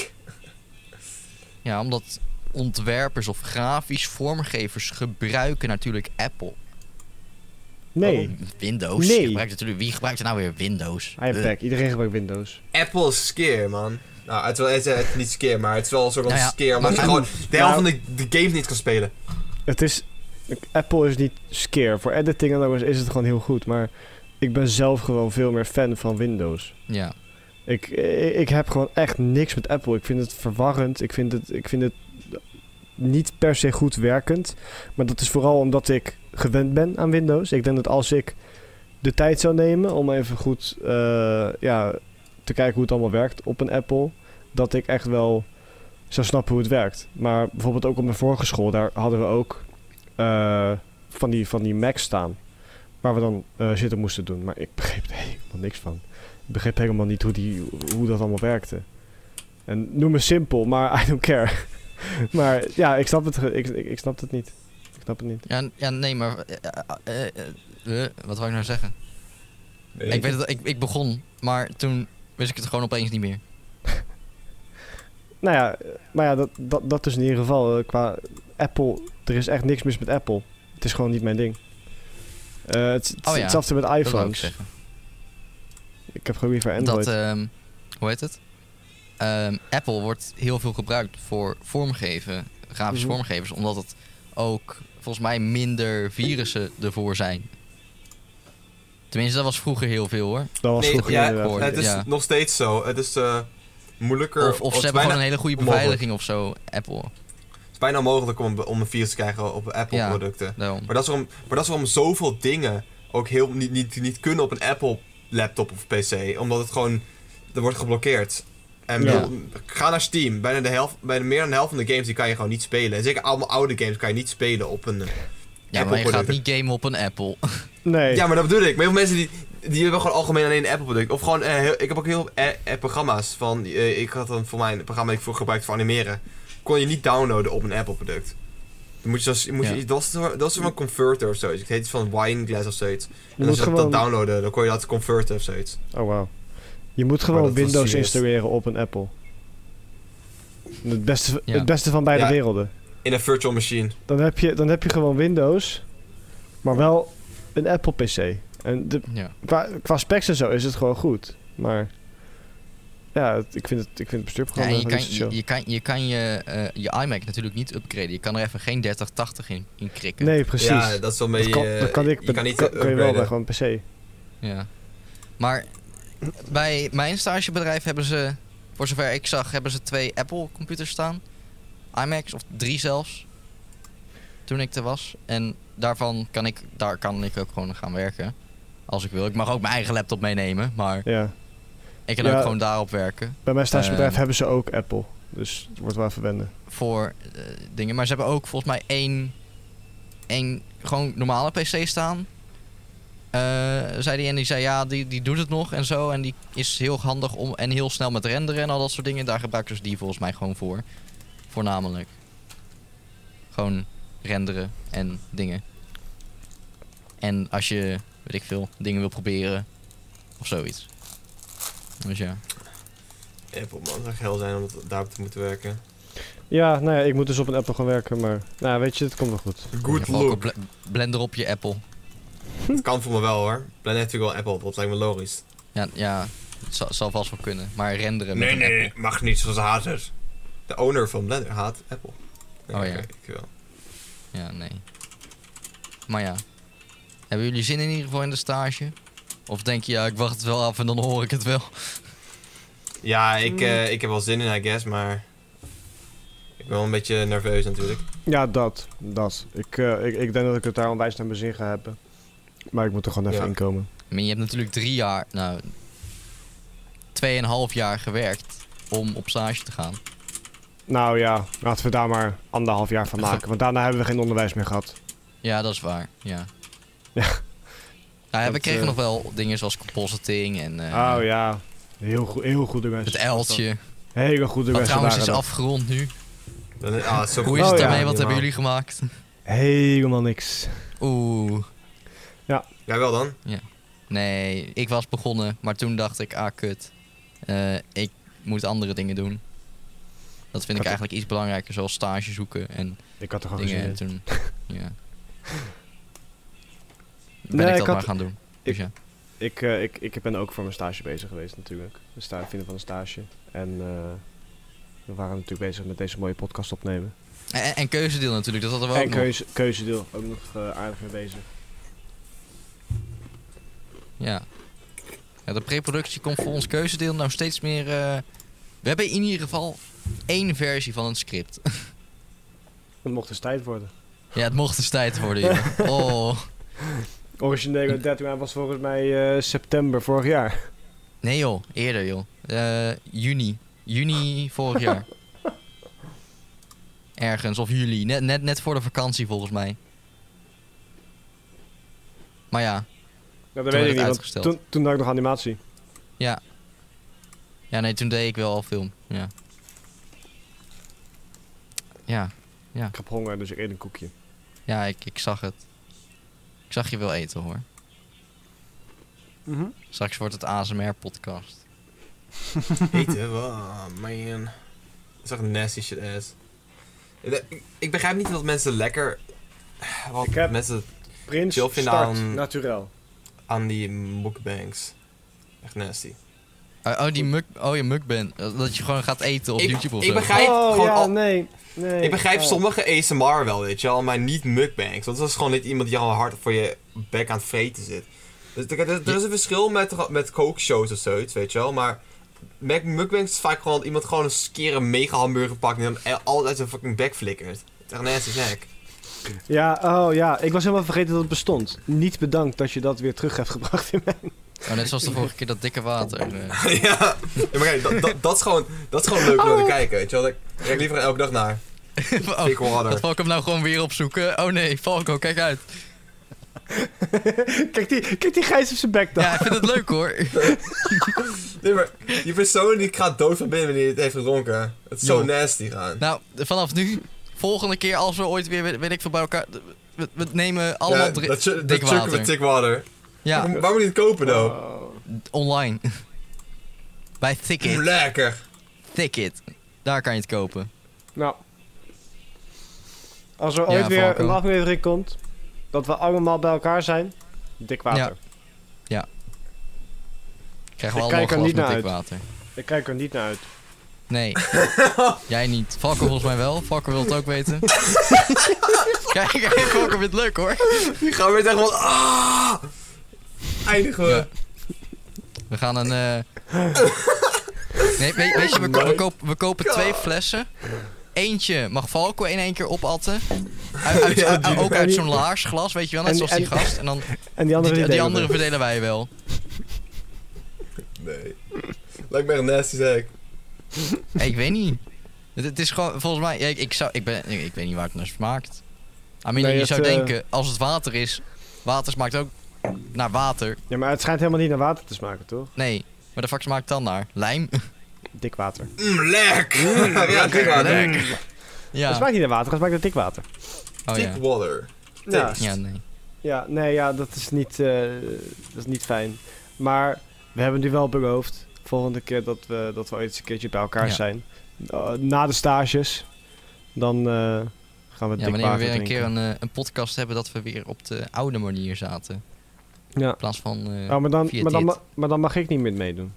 S2: Ja, omdat ontwerpers of grafisch vormgevers gebruiken natuurlijk Apple.
S3: Nee,
S1: Waarom?
S2: Windows.
S3: Nee.
S2: Je gebruikt natuurlijk, wie gebruikt er nou weer Windows?
S3: I am
S2: Eh.
S3: back. Iedereen gebruikt Windows.
S1: Apple is skeer, man. Nou, het, wel, het, is niet skeer, maar het is wel een soort van
S2: Nou ja,
S1: skeer. Omdat je
S2: maar-
S1: gewoon de helft
S3: Nou-
S1: van de, de game niet kan spelen.
S3: Het is... Apple is niet scare. Voor editing en alles is het gewoon heel goed. Maar ik ben zelf gewoon veel meer fan van Windows.
S2: Ja.
S3: Ik, ik, ik heb gewoon echt niks met Apple. Ik vind het verwarrend. Ik vind het, ik vind het niet per se goed werkend. Maar dat is vooral omdat ik gewend ben aan Windows. Ik denk dat als ik de tijd zou nemen om even goed eh, ja, te kijken hoe het allemaal werkt op een Apple, dat ik echt wel zou snappen hoe het werkt. Maar bijvoorbeeld ook op mijn vorige school, daar hadden we ook eh, van, die, van die Macs staan. Waar we dan eh, zitten moesten doen. Maar ik begreep er helemaal niks van. Ik begreep helemaal niet hoe, die, hoe dat allemaal werkte. En noem me simpel, maar I don't care. [LAUGHS] maar ja, ik snap, het, ge- ik, ik, ik snap het niet. Ik snap het niet.
S2: Ja, ja, nee, maar... eh, eh, eh, eh, eh, wat wou ik nou zeggen? ik weet dat ik, ik begon, maar toen wist ik het gewoon opeens niet meer.
S3: Nou ja, eh, maar ja, dat, dat, dat is in ieder geval eh, qua Apple. Er is echt niks mis met Apple. Het is gewoon niet mijn ding. Eh, het, het-
S2: Oh ja,
S3: Hetzelfde met
S2: Dat wou ik
S3: iPhones.
S2: zeggen.
S3: Ik heb gewoon liever Android.
S2: Dat, ehm, hoe heet het? Ehm, Apple wordt heel veel gebruikt voor vormgeven, grafisch
S3: Mhm.
S2: vormgevers, omdat het ook volgens mij minder virussen ervoor zijn. Tenminste, dat was vroeger heel veel hoor.
S3: dat was
S1: nee,
S3: vroeger
S1: ja,
S3: inderdaad.
S2: hoor.
S1: Het is
S2: Ja.
S1: nog steeds zo. Het is eh, moeilijker.
S2: Of, of
S1: het
S2: ze
S1: is
S2: hebben
S1: bijna-
S2: gewoon een hele goede
S1: onmogelijk.
S2: beveiliging of zo, Apple.
S1: is bijna onmogelijk om, om een virus te krijgen op
S2: Ja.
S1: Apple-producten.
S2: Daarom.
S1: Maar dat, is waarom, maar dat is waarom zoveel dingen ook heel, niet, niet, niet kunnen op een Apple-laptop of PC. Omdat het gewoon er wordt geblokkeerd. En
S3: Ja.
S1: bedoel, ga naar Steam. Bijna, de helft, bijna meer dan de helft van de games die kan je gewoon niet spelen. En zeker allemaal oude games kan je niet spelen op een.
S2: Ja, maar je gaat niet gamen op een Apple. [LAUGHS]
S3: Nee.
S1: eh, Ja, maar dat bedoel ik. Maar heel veel mensen die, die hebben gewoon algemeen alleen een Apple-product. Of gewoon, eh, heel- ik heb ook heel veel a- a- programma's van. eh, ik had dan voor mij een programma die ik voor gebruikt voor animeren. Kon je niet downloaden op een Apple-product. Dan moet je, zoals, moet je,
S2: Ja.
S1: dat was dat was van een converter of zoiets. Het heet iets van wineglass of zoiets.
S3: je
S1: En als
S3: moet
S1: je dat- dat
S3: gewoon...
S1: downloaden, dan kon je dat converten of zoiets.
S3: Oh, wauw. Je moet gewoon
S1: dat was
S3: Windows
S1: serieus.
S3: installeren op een Apple. Het beste,
S2: Ja.
S3: het beste van beide
S1: Ja.
S3: werelden.
S1: In een virtual machine.
S3: Dan heb, je, dan heb je gewoon Windows, maar wel een Apple PC. En de,
S2: Ja.
S3: qua, qua specs en zo is het gewoon goed. Maar ja, het- ik vind het, ik vind het
S2: Ja,
S3: bestuurprogramma
S2: en je,
S3: wel
S2: kan,
S3: niet zo chill.
S2: je, je kan je, kan je, eh, je iMac natuurlijk niet upgraden. Je kan er even geen 3080 in, in krikken.
S3: Nee, precies.
S1: Ja, dat is wel een
S3: dat,
S1: beetje.
S3: kan,
S1: eh,
S3: dat kan ik.
S1: je kan niet
S3: kan, kan je wel bij
S1: upgraden.
S3: gewoon een PC.
S2: Ja. Maar bij mijn stagebedrijf hebben ze, voor zover ik zag, hebben ze twee Apple computers staan. iMacs, of drie zelfs. Toen ik er was. En daarvan kan ik, daar kan ik ook gewoon gaan werken. Als ik wil. Ik mag ook mijn eigen laptop meenemen, maar
S3: Ja.
S2: ik kan
S3: Ja.
S2: ook gewoon daarop werken.
S3: Bij mijn stagebedrijf
S2: Ehm.
S3: hebben ze ook Apple. Dus het wordt wel even wennen.
S2: Voor eh, dingen. Maar ze hebben ook volgens mij één, één gewoon normale PC staan. Eh, zei die en die zei ja, die, die doet het nog en zo. En die is heel handig om en heel snel met renderen en al dat soort dingen. Daar gebruiken ze die volgens mij gewoon voor. Voornamelijk. Gewoon renderen en dingen. En als je, weet ik veel, dingen wil proberen of zoiets. Dus ja.
S1: Apple, man, het zou geil zijn om dat- daarop te moeten werken.
S3: Ja, nou ja, ik moet dus op een Apple gaan werken. Maar nou, weet je, het komt wel goed.
S1: Good
S2: Je hebt ook een
S1: look.
S2: bl- blender op je Apple.
S1: Dat kan voor me wel hoor. Plan natuurlijk wel Apple, dat lijkt me logisch.
S2: Ja, ja het zal, zal vast wel kunnen. Maar renderen met
S1: Nee,
S2: een
S1: nee,
S2: Apple.
S1: mag niet, zoals haters. De owner van Blender haat Apple. Nee,
S2: Oh ja.
S1: oké, Ik wel.
S2: Ja, nee. Maar ja. Hebben jullie zin in ieder geval in de stage? Of denk je, ja, ik wacht het wel af en dan hoor ik het wel. [LAUGHS]
S1: Ja, ik,
S3: Hmm.
S1: eh, ik heb wel zin in, I guess, maar. Ik ben wel een beetje nerveus natuurlijk.
S3: Ja, dat. dat. Ik, eh, ik, ik denk dat ik het daar onwijs naar mijn zin ga hebben. Maar ik moet er gewoon even
S1: Ja.
S3: in komen.
S2: I mean, je hebt natuurlijk drie jaar, nou, tweeënhalf jaar gewerkt om op stage te gaan.
S3: Nou ja, laten we daar maar anderhalf jaar van
S2: Ge-
S3: maken. Want daarna hebben we geen onderwijs meer gehad.
S2: Ja, dat is waar, ja.
S3: [LAUGHS] Ja.
S2: Nou ja, we
S3: Dat,
S2: kregen
S3: eh,
S2: nog wel dingen zoals compositing en eh,
S3: Oh ja. Heel, goed, heel goede mensen.
S2: het L'tje.
S3: Hele goede
S2: Wat
S3: mensen.
S2: trouwens is
S3: waren dat.
S2: afgerond nu.
S1: Dan, ah, zo
S2: Hoe is het
S3: Oh
S2: ermee?
S3: ja,
S2: Wat
S1: helemaal.
S2: hebben jullie gemaakt?
S3: Helemaal niks.
S2: Oeh.
S1: Jij wel dan?
S2: Nee, ik was begonnen, maar toen dacht ik, ah kut, Eh, ik moet andere dingen doen. Dat vind ik
S3: Oké. Oh,
S2: eigenlijk iets belangrijker, zoals stage zoeken en
S3: Ik had er gewoon
S2: dingen.
S3: gezien.
S2: En
S3: in. [LAUGHS]
S2: toen, ja. Ben
S3: Nee,
S2: ik dat
S3: ik had-
S2: maar gaan doen. Dus ja.
S3: Ik, eh, ik, ik ben ook voor mijn stage bezig geweest natuurlijk. Het sta- vinden van een stage. En eh, we waren natuurlijk bezig met deze mooie podcast opnemen.
S2: En, en keuzedeel natuurlijk, dat hadden we
S3: en
S2: ook nog.
S3: keuze, keuzedeel ook nog eh, aardig mee bezig.
S2: Ja. ja. De preproductie komt voor ons keuzedeel nou steeds meer... eh, We hebben in ieder geval één versie van een script. [LAUGHS]
S3: Het mocht eens tijd worden.
S2: ja, het mocht eens tijd worden, joh.
S3: [LAUGHS]
S2: Oh.
S3: Originele deadline was volgens mij eh, september vorig jaar.
S2: Nee joh, eerder joh. Eh, juni. Juni vorig
S3: [LAUGHS]
S2: jaar. Ergens, of juli. Net, net, net voor de vakantie volgens mij. Maar ja,
S3: Nou,
S2: Toen
S3: dat
S2: werd
S3: weet
S2: het
S3: ik niet, want
S2: uitgesteld.
S3: toen, toen had ik nog animatie.
S2: ja nee, toen deed ik wel al film. Ja. Ja,
S3: Ik heb honger, dus ik eet een koekje.
S2: ja ik, ik zag het. Ik zag je wel eten hoor.
S3: Mhm.
S2: Straks wordt het ASMR-podcast.
S1: Eten, wow, man. Dat is echt nasty shit ass. Eh, Ik- Ik begrijp niet dat mensen lekker. Wat
S3: Ik heb-
S1: mensen
S3: Prins,
S1: Chill vinden
S3: start,
S1: aan-
S3: naturel.
S1: aan die mukbangs. Echt nasty.
S2: Oh, oh, die muk, oh je mukband. Eh, Dat je gewoon gaat eten op
S1: Ik-
S2: YouTube of
S1: ik
S2: zo.
S1: begrijp- Kijk,
S3: oh
S1: gewoon
S3: ja,
S1: al-
S3: nee, nee.
S1: Ik begrijp
S3: oh.
S1: sommige ASMR wel, weet je wel, maar niet mukbangs. Want dat is gewoon niet iemand die al hard voor je bek aan het vreten zit. Dus er, er- er is een verschil met, met kookshows of zoiets, weet je wel, maar Mac mukbangs is vaak gewoon dat iemand gewoon een keer een mega hamburger pakt en dan e- alles uit zijn fucking bek flikkert. Het is echt een nasty
S2: [LAUGHS]
S1: snack.
S3: Ja, oh ja, ik was helemaal vergeten dat het bestond. Niet bedankt dat je dat weer terug hebt gebracht in mij.
S2: Oh, net zoals de vorige keer dat dikke
S1: [LAUGHS]
S2: water. eh.
S1: ja. ja, maar kijk, dat, dat, dat, is gewoon, dat is gewoon leuk om naar te kijken, weet je wel. Ik kijk liever elke dag naar.
S2: Oh,
S1: Pick
S2: [LAUGHS]
S1: water.
S2: dat Valk hem nou gewoon weer opzoeken. Oh nee, Valko, kijk uit.
S3: [LAUGHS] kijk, die, kijk die gijs op zijn bek dan.
S2: Ja, ik vind het leuk hoor.
S1: [LAUGHS] Nee, maar die persoon die gaat dood van binnen wanneer hij het heeft gedronken. Het is zo
S2: Ja.
S1: nasty gaan.
S2: Nou, vanaf nu, volgende keer als we ooit weer, weet weet ik veel, bij elkaar... We, we nemen allemaal dri-
S1: dat chu- dat
S2: dik
S1: chucken
S2: water.
S1: met dik water.
S2: Ja,
S1: Waarom, waarom niet kopen, dan?
S3: Oh.
S2: online. [LAUGHS] bij Thicket.
S1: Lekker.
S2: Thicket. Daar kan je het kopen.
S3: Nou. Als er
S2: Ja,
S3: ooit weer
S2: Valko.
S3: een aflevering komt, dat we allemaal bij elkaar zijn, dik water.
S2: Krijgen
S3: Ik
S2: we allemaal
S3: kijk
S2: een
S3: er
S2: glas met
S3: niet
S2: dik
S3: naar
S1: [LAUGHS]
S2: water.
S3: Ik kijk er niet naar uit.
S2: Nee. Jij niet. Valko volgens mij wel. Valko wil het ook
S1: [LAUGHS]
S2: weten. kijk, [LAUGHS] kijk, Valko vindt het leuk hoor.
S1: Die gaan weer echt gewoon... Ah! Eindigen we.
S2: Ja. We gaan een... eh, Nee, weet, weet je, we, ko- we, koop- we kopen twee flessen. Eentje mag Valko in één keer opatten.
S3: [LAUGHS]
S2: Uit- uit-
S1: Ja,
S2: uit-
S1: die-
S2: ook uit zo'n laarsglas, weet je wel. Net
S3: En-
S2: zoals die
S3: en-
S2: gast. En dan
S3: En die andere
S2: die,
S3: die,
S2: die
S3: delen
S2: andere
S3: we.
S2: verdelen wij
S3: [LAUGHS]
S2: wel.
S1: Nee. Lijkt me echt nasty, zeg.
S2: Ja, ik weet niet. Het, het is gewoon, volgens mij, ja, ik, ik, zou, ik, ben, ik, ik weet niet waar het naar smaakt. I mean,
S3: Nee,
S2: je
S3: het,
S2: zou
S3: eh,
S2: denken, als het water is, water smaakt ook naar water.
S3: Ja, maar het schijnt helemaal niet naar water te smaken, toch?
S2: Nee, maar de fuck smaakt het dan naar? Lijm? [LAUGHS]
S3: Dik water.
S1: Mm, lekker. [LAUGHS] ja, dik
S2: Ja,
S1: water.
S2: lekker.
S3: Het
S2: Ja.
S3: smaakt niet naar water, het smaakt naar dik water.
S2: Oh ja.
S1: Dik water.
S3: Ja.
S2: Ja, nee.
S3: Ja, nee, ja, dat is niet, eh, dat is niet fijn. Maar we hebben nu wel beloofd, volgende keer dat we, dat we ooit eens een keertje bij elkaar
S2: Ja.
S3: zijn, eh, na de stages, dan eh, gaan
S2: Ja,
S3: we dik
S2: wanneer we
S3: water
S2: weer een keer
S3: drinken.
S2: een, eh, een podcast hebben dat we weer op de oude manier zaten.
S3: Ja.
S2: In plaats van... eh,
S3: Oh, maar, dan,
S2: via
S3: maar, dan,
S2: dit.
S3: ma- maar dan mag ik niet meer meedoen.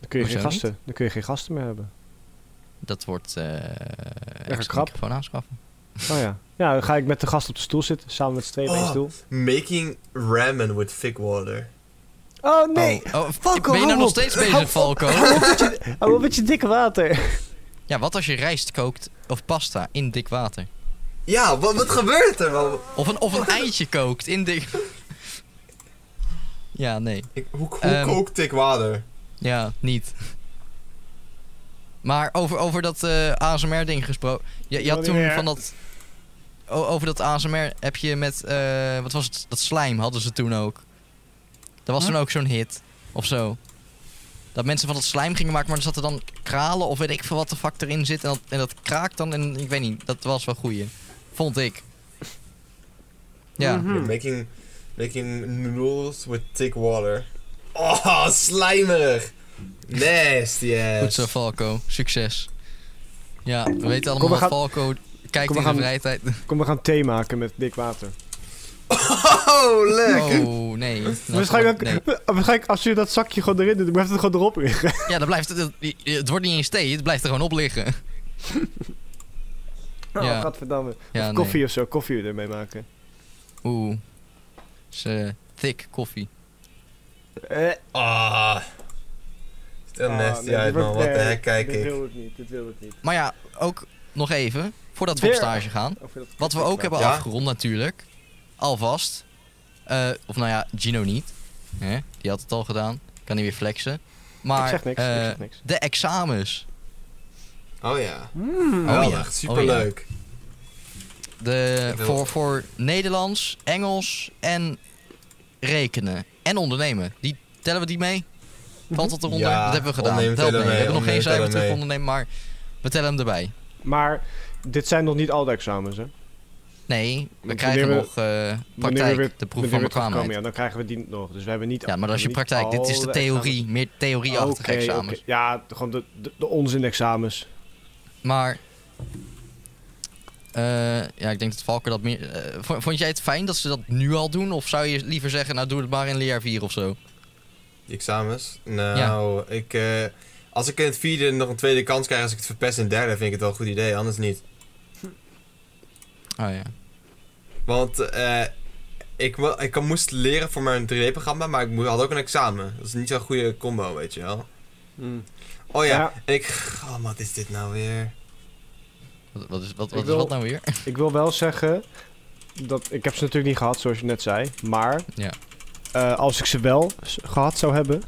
S3: Dan kun je,
S2: Hoezo
S3: geen gasten, dan kun je geen gasten meer hebben.
S2: dat wordt... eh extra
S3: krap.
S2: microfoon aanschaffen.
S3: Oh ja. Ja, dan ga ik met de gast op de stoel zitten, samen met z'n tweeën op één
S1: Oh.
S3: stoel.
S1: Making ramen with thick water.
S3: Oh nee!
S2: Oh, oh,
S3: Valko,
S2: ben je
S3: hou
S2: nou nog
S3: op.
S2: steeds
S3: Hou op.
S2: bezig, Valko?
S3: Oh, wat een beetje dikke water.
S2: Ja, wat als je rijst kookt of pasta in dik water?
S1: Ja, wat, wat gebeurt er? Wat-
S2: Of een, of een eitje kookt in dik... [LAUGHS] Ja, nee.
S1: ik- hoe hoe
S2: Ehm.
S1: kookt dik water?
S2: Ja, niet. Maar over, over dat eh ASMR-ding gesproken. Je, je had toen
S3: Wanneer?
S2: van dat... o- over dat ASMR heb je met... eh, wat was het? Dat slijm hadden ze toen ook. Dat was toen ook zo'n hit. Of zo. Dat mensen van dat slijm gingen maken, maar er zaten dan kralen of weet ik veel wat de fuck erin zit. En dat, en dat kraakt dan en ik weet niet. Dat was wel goeie. Vond ik. Ja.
S3: Mhm. Hmm.
S1: Making, making noodles with thick water. Oh, slijmerig. Nasty ass.
S2: Goed zo, Falco. Succes. Ja, we weten allemaal
S3: we
S2: wat
S3: gaan-
S2: Falco kijkt
S3: kom,
S2: in
S3: we
S2: de
S3: gaan-
S2: vrije tijd.
S3: Kom, we gaan thee maken met dik water.
S1: Oh,
S2: [LAUGHS]
S1: lekker.
S2: Oh, nee. Dat
S3: Waarschijnlijk,
S2: wordt- nee.
S3: [LAUGHS] waarschijnlijk als je dat zakje gewoon erin doet, blijft het gewoon erop liggen.
S2: Ja, dat blijft, het, het wordt niet eens thee, het blijft er gewoon op liggen.
S3: [LAUGHS]
S2: [LAUGHS]
S3: Oh,
S2: Ja.
S3: godverdamme.
S2: Ja,
S3: of
S2: nee.
S3: koffie of zo, koffie ermee maken.
S2: Oeh. Het is eh, thick koffie.
S3: Eh, ah,
S1: Ah. Ziet er nasty uit, man. Wat de heck kijk
S3: Dit
S1: ik.
S3: wil ik niet, dit wil ik niet.
S2: Maar ja, ook nog even, voordat we op
S3: Weer.
S2: stage gaan.
S3: Of je dat-
S2: Wat we ook hebben
S1: Ja?
S2: afgerond natuurlijk. Alvast. Eh, of nou ja, Gino niet. Hè? Die had het al gedaan. Kan hij weer flexen. Maar
S3: ik zeg niks,
S2: eh,
S3: ik zeg niks.
S2: de examens.
S1: Oh ja.
S3: Hmm.
S2: Oh ja.
S1: Geweldig. Superleuk.
S2: De,
S1: Ik wil-
S2: voor, voor Nederlands, Engels en rekenen. En ondernemen. Die, tellen we die mee? Valt dat eronder?
S1: Ja,
S2: dat hebben we gedaan.
S1: ondernemen
S2: Telt
S1: tellen
S2: mee. We
S1: mee,
S2: hebben nog
S1: ondernemen
S2: geen cijfer
S1: tellen
S2: terug ondernemen, maar we tellen hem erbij.
S3: Maar dit zijn nog niet al de examens, hè?
S2: Nee, we
S3: Wanneer
S2: krijgen
S3: we-
S2: nog eh,
S3: Wanneer
S2: praktijk,
S3: we weer-
S2: de
S3: wanneer we
S2: proef van
S3: weer terugkomen,
S2: bekwaamheid.
S3: Ja, dan krijgen we die nog. Dus we hebben niet
S2: Ja, maar dat is je
S3: niet
S2: praktijk. Dit is
S3: al
S2: de
S3: de
S2: theorie, meer
S3: examens.
S2: theorieachtige
S3: Oké, oké.
S2: examens.
S3: Ja, gewoon de, de, de onzin-examens.
S2: Maar, eh, ja, ik denk dat Valken dat meer... eh, vond vond jij het fijn dat ze dat nu al doen? Of zou je liever zeggen, nou doe het maar in leerjaar 4 of zo? Oh,
S1: Die examens. Nou, ik... eh, als ik in het vierde nog een tweede kans krijg als ik het verpest in het derde, vind ik het wel een goed idee. Anders niet.
S2: Oh ja.
S1: Want eh, ik, mo- ik kan- moest leren voor mijn 3D-programma, maar ik mo- had ook een examen. Dat is niet zo'n goede combo, weet je wel.
S4: Mm.
S1: Oh ja,
S3: Ja.
S1: en ik... Oh, wat is dit nou weer?
S2: Wat, wat is, wat,
S3: Ik
S2: wat, is
S3: wil-
S2: wat nou weer? [LAUGHS]
S3: Ik wil wel zeggen dat ik heb ze natuurlijk niet gehad, zoals je net zei. Maar
S2: Ja.
S3: eh, als ik ze wel s- gehad zou hebben,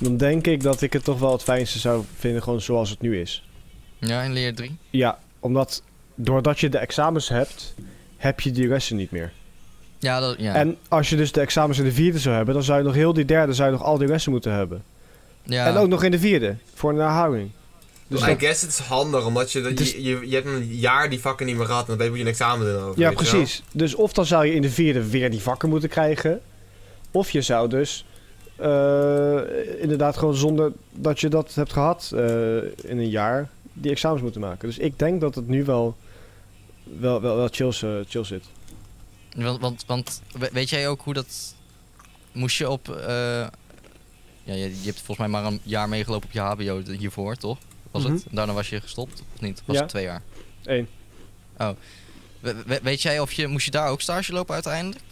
S3: dan denk ik dat ik het toch wel het fijnste zou vinden, gewoon zoals het nu is.
S2: Ja, in leer 3.
S3: Ja, omdat doordat je de examens hebt, heb je die lessen niet meer.
S2: Ja, dat, ja.
S3: En als je dus de examens in de vierde zou hebben, dan zou je nog heel die derde, zou je nog al die lessen moeten hebben.
S2: ja.
S3: En ook nog in de vierde, voor een herhaling. Dus
S1: Dus I
S3: dat-
S1: guess het is handig, omdat je, dat-
S3: Dus-
S1: je, je, je hebt een jaar die vakken niet meer gehad en dan weet je- moet je een examen doen over.
S3: ja,
S1: weet je wel?
S3: precies. Dus of dan zou je in de vierde weer die vakken moeten krijgen, of je zou dus eh, inderdaad gewoon zonder dat je dat hebt gehad eh, in een jaar die examens moeten maken. Dus ik denk dat het nu wel, wel, wel, wel chill, eh, chill zit.
S2: Want, want, want we- weet jij ook hoe dat. Moest je op. eh, ja, je, je hebt volgens mij maar een jaar meegelopen op je HBO de- hiervoor, toch? Was het? Daarna was je gestopt, of niet? Was
S3: Mhm. Ja.
S2: het twee jaar? Oh.
S3: Eén.
S2: We- we- weet jij of je. Moest je daar ook stage lopen uiteindelijk?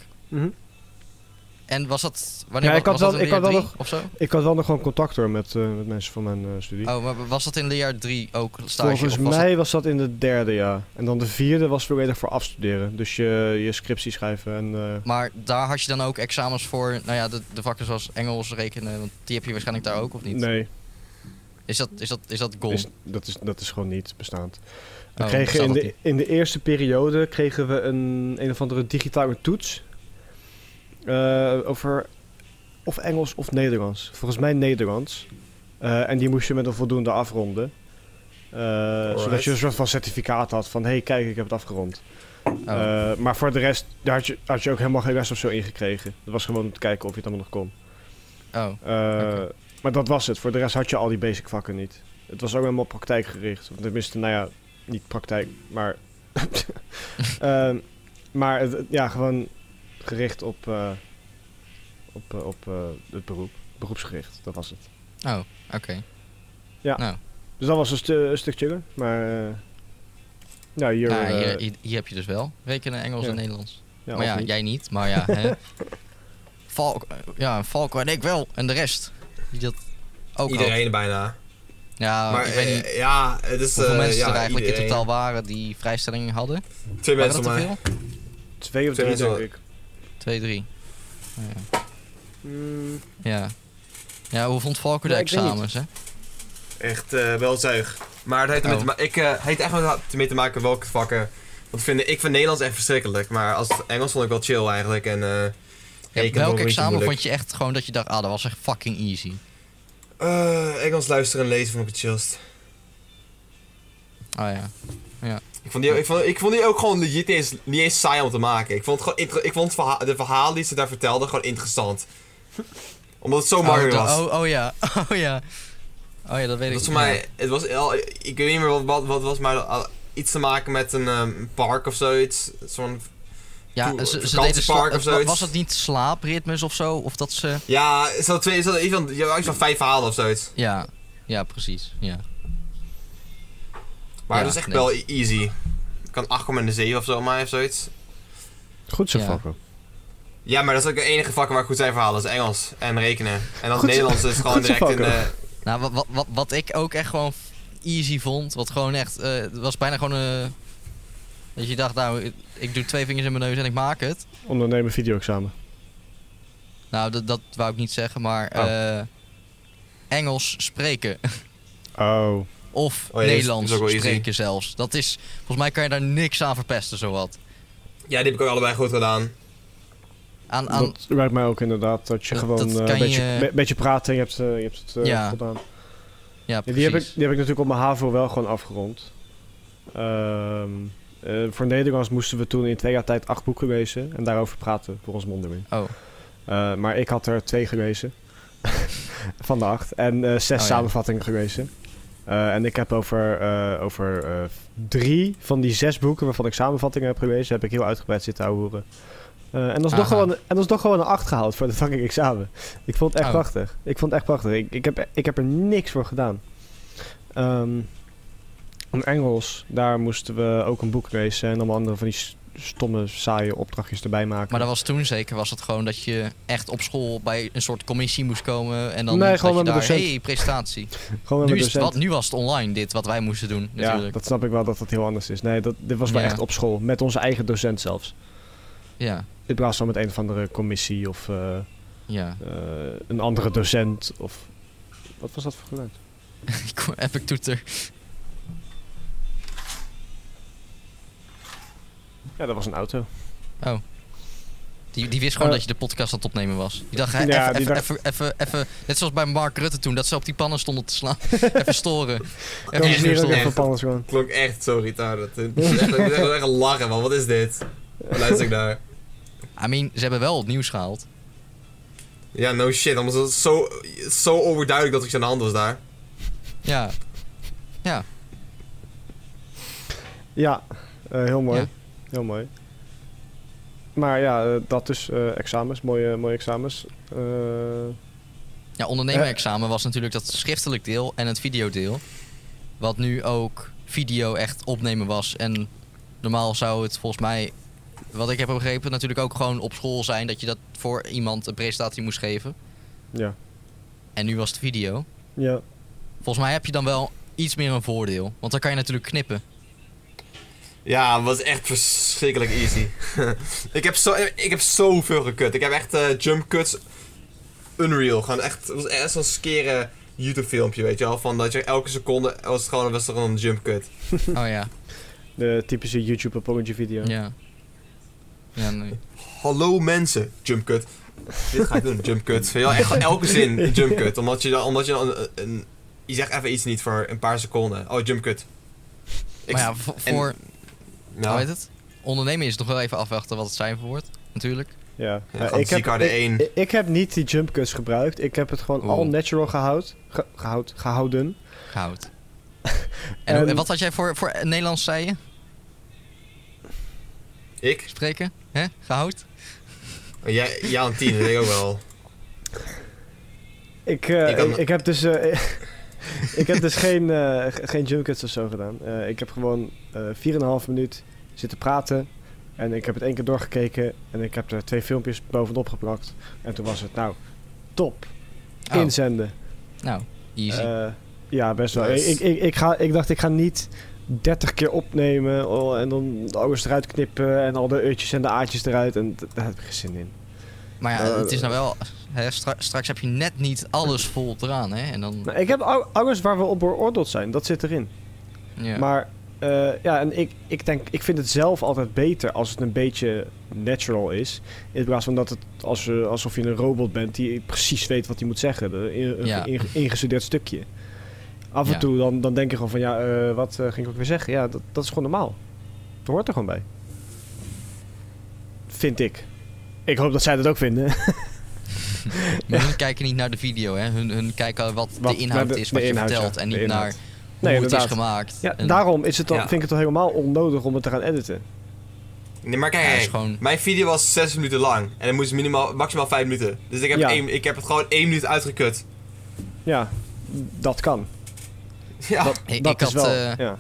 S2: En was dat. Wanneer was,
S3: Ja, ik
S2: was
S3: had wel-
S2: dat
S3: ik
S2: in leerjaar
S3: had wel
S2: drie of zo?
S3: Ik had wel nog gewoon contact hoor met, eh, met mensen van mijn eh, studie.
S2: Oh, maar was dat in leerjaar 3 ook stage?
S3: Volgens
S2: of was
S3: mij was dat in de derde jaar. En dan de vierde was volledig voor afstuderen. Dus je, je scriptie schrijven en... eh,
S2: dat- maar daar had je dan ook examens voor. Nou ja, de, de vakken zoals Engels, rekenen. Want die heb je waarschijnlijk daar ook, of niet?
S3: nee,
S2: Is dat, is dat, is dat goal?
S3: is, dat, is, dat is gewoon niet bestaand. We
S2: Oh,
S3: kregen
S2: bestaat
S3: in,
S2: dat
S3: de,
S2: niet?
S3: in de eerste periode kregen we een, een of andere digitale toets. eh, over of Engels of Nederlands. Volgens mij Nederlands. Eh, en die moest je met een voldoende afronden. Eh, zodat je een soort van certificaat had van... hé, hey, kijk, ik heb het afgerond.
S2: Oh.
S3: Eh, maar voor de rest, daar had je, had je ook helemaal geen rest of zo ingekregen. Dat was gewoon om te kijken of je het allemaal nog kon.
S2: oh.
S3: Eh, Maar dat was het. Voor de rest had je al die basic vakken niet. Het was ook helemaal praktijkgericht. Of tenminste, nou ja, niet praktijk, maar...
S2: [LAUGHS]
S3: Ehm, maar het- het- ja, gewoon gericht op, eh, op, eh, op eh, het beroep. Beroepsgericht, dat was het.
S2: Oh, oké.
S3: Ja.
S2: Nou,
S3: Dus dat was een, stu- een stuk chiller, maar... eh, nou, hier...
S2: nou,
S3: eh,
S2: hier, hier, hier heb je dus wel. Rekenen, Engels
S3: Ja.
S2: en Nederlands.
S3: ja,
S2: maar
S3: of
S2: ja,
S3: niet.
S2: jij niet. Maar ja,
S3: [LAUGHS]
S2: hè. Valk, eh, ja, Valko en ik wel. En de rest. Die dat ook had.
S1: Iedereen bijna.
S2: Ja,
S1: maar
S2: ik weet niet
S1: eh, ja, het is...
S2: hoeveel
S1: eh,
S2: mensen
S1: ja,
S2: er eigenlijk in
S1: iedereen.
S2: totaal waren die vrijstelling hadden.
S1: Twee
S2: Waren
S1: mensen
S2: dat
S1: maar.
S2: te veel?
S3: Twee
S1: Twee
S3: of drie,
S1: mensen
S3: denk
S1: wel.
S3: ik.
S2: Twee, drie. Nou ja.
S3: Mm,
S2: Ja. Ja, hoe vond Valko de
S3: Ja, ik weet
S2: examens, hè?
S1: Echt eh, wel zuig. Maar het heeft, ermee
S2: Oh.
S1: te ma- ik, eh, heeft echt wel te- mee te maken welke vakken. Want ik vind, ik vind Nederlands echt verschrikkelijk. Maar als Engels vond ik wel chill eigenlijk. En, eh,
S2: Ja,
S1: rekenen vond ik
S2: welk
S1: niet
S2: examen
S1: moeilijk.
S2: vond je echt gewoon dat je dacht, ah, dat was echt fucking easy.
S1: Eh, Engels luisteren en lezen vond ik het chillst.
S2: Oh ja.
S1: Ik vond, die, ik, vond, ik vond die ook gewoon legit niet eens, niet eens saai om te maken. Ik vond, het gewoon inter- ik vond het verha- de verhalen die ze daar vertelden gewoon interessant. Omdat het zo makkelijk
S2: da-
S1: was.
S2: oh, oh ja, [LAUGHS] oh ja. Oh ja, dat weet
S1: Het was
S2: ik.
S1: voor mij, het was, al- ik weet niet meer wat, wat, wat was, maar al- iets te maken met een ehm, park of zoiets. Zo'n,
S2: Ja,
S1: toe-
S2: ze- ze,
S1: vakantiepark
S2: deden sla-
S1: of
S2: wa-
S1: zoiets.
S2: Was het niet slaapritmes of zo? Of dat ze...
S1: ja, is dat twee, is dat, iets van, je had iets van vijf verhalen of zoiets.
S2: Ja, ja precies. Ja.
S1: Maar
S2: Ja,
S1: dat is echt
S2: nee.
S1: wel e- easy. Ik kan 8,7 of zo, maar of zoiets.
S3: Goed zo,
S2: Ja.
S3: Falco.
S1: Ja, maar dat is ook de enige vakken waar ik goed zijn verhalen. Dat is Engels en rekenen. En dat
S3: Goed zo-
S1: Nederlands
S3: [LAUGHS]
S1: is gewoon
S3: goed zo,
S1: direct in
S3: Falco.
S1: de...
S2: Nou, wat, wat, wat, wat ik ook echt gewoon f- easy vond, wat gewoon echt... eh, Het was bijna gewoon... eh, dat je dacht, nou, ik- ik doe twee vingers in mijn neus en ik maak het.
S3: Ondernemen video-examen.
S2: Nou, dat, dat wou ik niet zeggen, maar...
S3: Oh.
S2: eh, Engels spreken.
S3: Oh.
S2: Of
S1: Oh ja, is-
S2: Nederlands
S1: is ook wel easy.
S2: spreken zelfs. Dat is... Volgens mij kan je daar niks aan verpesten, zowat.
S1: Ja, die heb ik ook allebei goed gedaan.
S2: Aan, aan,
S3: Dat lijkt mij ook inderdaad, dat je
S2: Dat-
S3: gewoon
S2: dat
S3: eh,
S2: kan
S3: een beetje,
S2: je-
S3: be- beetje praten en je hebt, eh, je hebt het eh,
S2: Ja,
S3: gedaan.
S2: ja,
S3: Ja,
S2: precies.
S3: die, heb ik, die heb ik natuurlijk op mijn HAVO wel gewoon afgerond. Ehm, eh, voor Nederlands moesten we toen in twee jaar tijd acht boeken lezen en daarover praten voor ons mondeling.
S2: Oh,
S3: Eh, maar ik had er twee gelezen [LAUGHS] van de acht en eh, zes
S2: Oh, ja.
S3: samenvattingen gelezen. Eh, en ik heb over, eh, over eh, drie van die zes boeken waarvan ik samenvattingen heb gelezen, heb ik heel uitgebreid zitten ouwehoeren. Eh en dat is nog
S2: Aha.
S3: gewoon, en dat is nog gewoon een acht gehaald voor het fucking examen. Ik vond het echt
S2: Oh.
S3: prachtig. Ik vond het echt prachtig. Ik, ik, heb, ik heb er niks voor gedaan. Ehm in Engels, daar moesten we ook een boek lezen en allemaal andere van die s- stomme, saaie opdrachtjes erbij maken.
S2: Maar dat was toen zeker, was het gewoon dat je echt op school bij een soort commissie moest komen. En dan
S3: Nee,
S2: dat
S3: gewoon
S2: je
S3: met
S2: daar,
S3: mijn docent.
S2: hey, presentatie.
S3: Gewoon met
S2: Nu,
S3: mijn
S2: is het,
S3: docent.
S2: wat, nu was het online dit, wat wij moesten doen
S3: Ja,
S2: natuurlijk.
S3: dat snap ik wel dat dat heel anders is. Nee, dat, dit was wel
S2: Ja.
S3: echt op school. Met onze eigen docent zelfs.
S2: Ja,
S3: In plaats van met een of andere commissie of eh,
S2: ja. [LAUGHS]
S3: eh, een andere docent. Of... Wat was dat voor geluid?
S2: Kom, Epic toeter.
S3: Ja, dat was een auto.
S2: Die, die wist gewoon
S3: Eh.
S2: dat je de podcast aan het opnemen was. Die dacht, hè,
S3: Ja,
S2: even,
S3: die
S2: even,
S3: dacht-
S2: even, even, even- net zoals bij Mark Rutte toen, dat ze op die pannen stonden te
S3: [LAUGHS]
S2: slaan. even storen.
S3: Dat was
S1: is
S2: even
S3: hier
S1: niet
S3: ook
S2: storen.
S1: verstandig.
S3: echt van alles gewoon.
S1: Klonk echt zo [LAUGHS] retarded. Ik moest echt- ik moest echt lachen, man. Wat is dit? Wat Luister ik naar.
S2: I mean, ze hebben wel het nieuws gehaald.
S1: Ja, no shit. Anders was het zo, zo overduidelijk dat ik aan de hand was daar.
S2: Ja,
S3: Ja, eh, heel mooi.
S2: Ja.
S3: Heel mooi. Maar ja, eh, dat dus. eh, examens, mooie, mooie examens. Eh,
S2: ja ondernemerexamen was natuurlijk dat schriftelijk deel en het videodeel. Wat nu ook video echt opnemen was. En normaal zou het volgens mij, wat ik heb begrepen, natuurlijk ook gewoon op school zijn. Dat je dat voor iemand een presentatie moest geven.
S3: ja.
S2: En nu was het video.
S3: ja.
S2: Volgens mij heb je dan wel iets meer een voordeel. Want dan kan je natuurlijk
S1: [LAUGHS]
S2: knippen.
S1: Ja, het was echt verschrikkelijk easy. [LAUGHS] ik, heb zo, ik heb zoveel gekut. Ik heb echt eh, jump cuts unreal. Gewoon echt, het was echt zo'n skere YouTube filmpje, weet je wel. Van dat je elke seconde was het gewoon, was er gewoon een jump cut.
S2: Oh ja,
S3: De typische YouTube apology video.
S2: ja. Ja, nee.
S1: Hallo mensen, jump cut. Dit ga ik doen, jump cut. Weet je wel, echt gewoon elke zin
S2: [LAUGHS]
S1: een jump cut. Omdat je dan, omdat je dan een, een- je zegt even iets niet voor een paar seconden. Oh, jump cut. Ik-
S2: maar ja, vo-
S1: en-
S2: voor,
S1: nou,
S2: hoe heet het? Ondernemen is het nog wel even afwachten wat het zijn voor wordt, natuurlijk.
S3: Ja,
S1: Ja,
S3: Ja,
S1: gewoon Zika de
S3: ik-
S1: één.
S3: Ik, ik heb niet die jump cuts gebruikt. Ik heb het gewoon
S2: Oeh.
S3: all natural gehoud, ge- gehoud, gehouden.
S1: [LAUGHS]
S2: Goud. En, hoe-
S3: En-
S2: en wat had jij voor, voor Nederlands, zei je?
S1: ik?
S2: Spreken? Hè? Gehoud?
S1: Oh, Jij, jij aan tien, dat weet ik ook wel.
S3: Ik, eh,
S1: Ik kan-
S3: ik, ik heb dus, eh, [LAUGHS] ik heb dus geen, eh ge- geen jump cuts of zo gedaan. Eh, ik heb gewoon eh 4,5 minuut zitten praten. En ik heb het één keer doorgekeken. En ik heb er twee filmpjes bovenop geplakt. En toen was het nou top.
S2: Oh,
S3: Inzenden.
S2: nou, easy.
S3: Eh, ja, best wel.
S1: Nice.
S3: Ik, ik, ik, ga, ik dacht, ik ga niet 30 keer opnemen oh, en dan alles eruit knippen en al de uurtjes en de aartjes eruit. En d- daar heb ik geen zin in.
S2: maar ja,
S3: eh,
S2: het is nou wel... Hè, stra- straks heb je net niet alles vol eraan, hè? En dan...
S3: Nou, ik heb al- alles waar we op beoordeeld zijn, dat zit erin.
S2: Ja.
S3: Maar eh, ja, en ik, ik denk, ik vind het zelf altijd beter als het een beetje natural is. In plaats van dat het als, eh, alsof je een robot bent die precies weet wat hij moet zeggen. De- Een, een
S2: Ja.
S3: inge- ingestudeerd stukje. Af en
S2: Ja.
S3: toe dan, dan denk je gewoon van ja, eh, wat eh, ging ik ook weer zeggen? Ja, dat, dat is gewoon normaal. Dat hoort er gewoon bij. Vind ik. Ik hoop dat zij dat ook vinden. [LAUGHS]
S2: Maar hun kijken niet naar de video, hè? Hun, hun kijken wat,
S3: Wat-
S2: de inhoud
S3: naar de-
S2: is,
S3: de
S2: wat je
S3: inhoud,
S2: vertelt.
S3: ja,
S2: En
S3: de
S2: niet
S3: inhoud.
S2: naar
S3: Nee,
S2: hoe het
S3: inderdaad.
S2: is gemaakt.
S3: Ja,
S2: En
S3: daarom is het dan,
S1: Ja.
S3: vind ik het al helemaal onnodig om het te gaan editen.
S1: Nee, maar kijk,
S2: Ja, is
S1: kijk,
S2: gewoon-
S1: mijn video was 6 minuten lang. En dan moest minimaal, maximaal 5 minuten. Dus ik heb,
S3: Ja.
S1: één, ik heb het gewoon 1 minuut uitgekut. [LAUGHS]
S3: Ja, dat kan.
S1: Ja.
S3: Dat,
S2: Ik-
S3: dat
S2: ik
S3: is
S2: had,
S3: wel.
S2: eh,
S3: ja.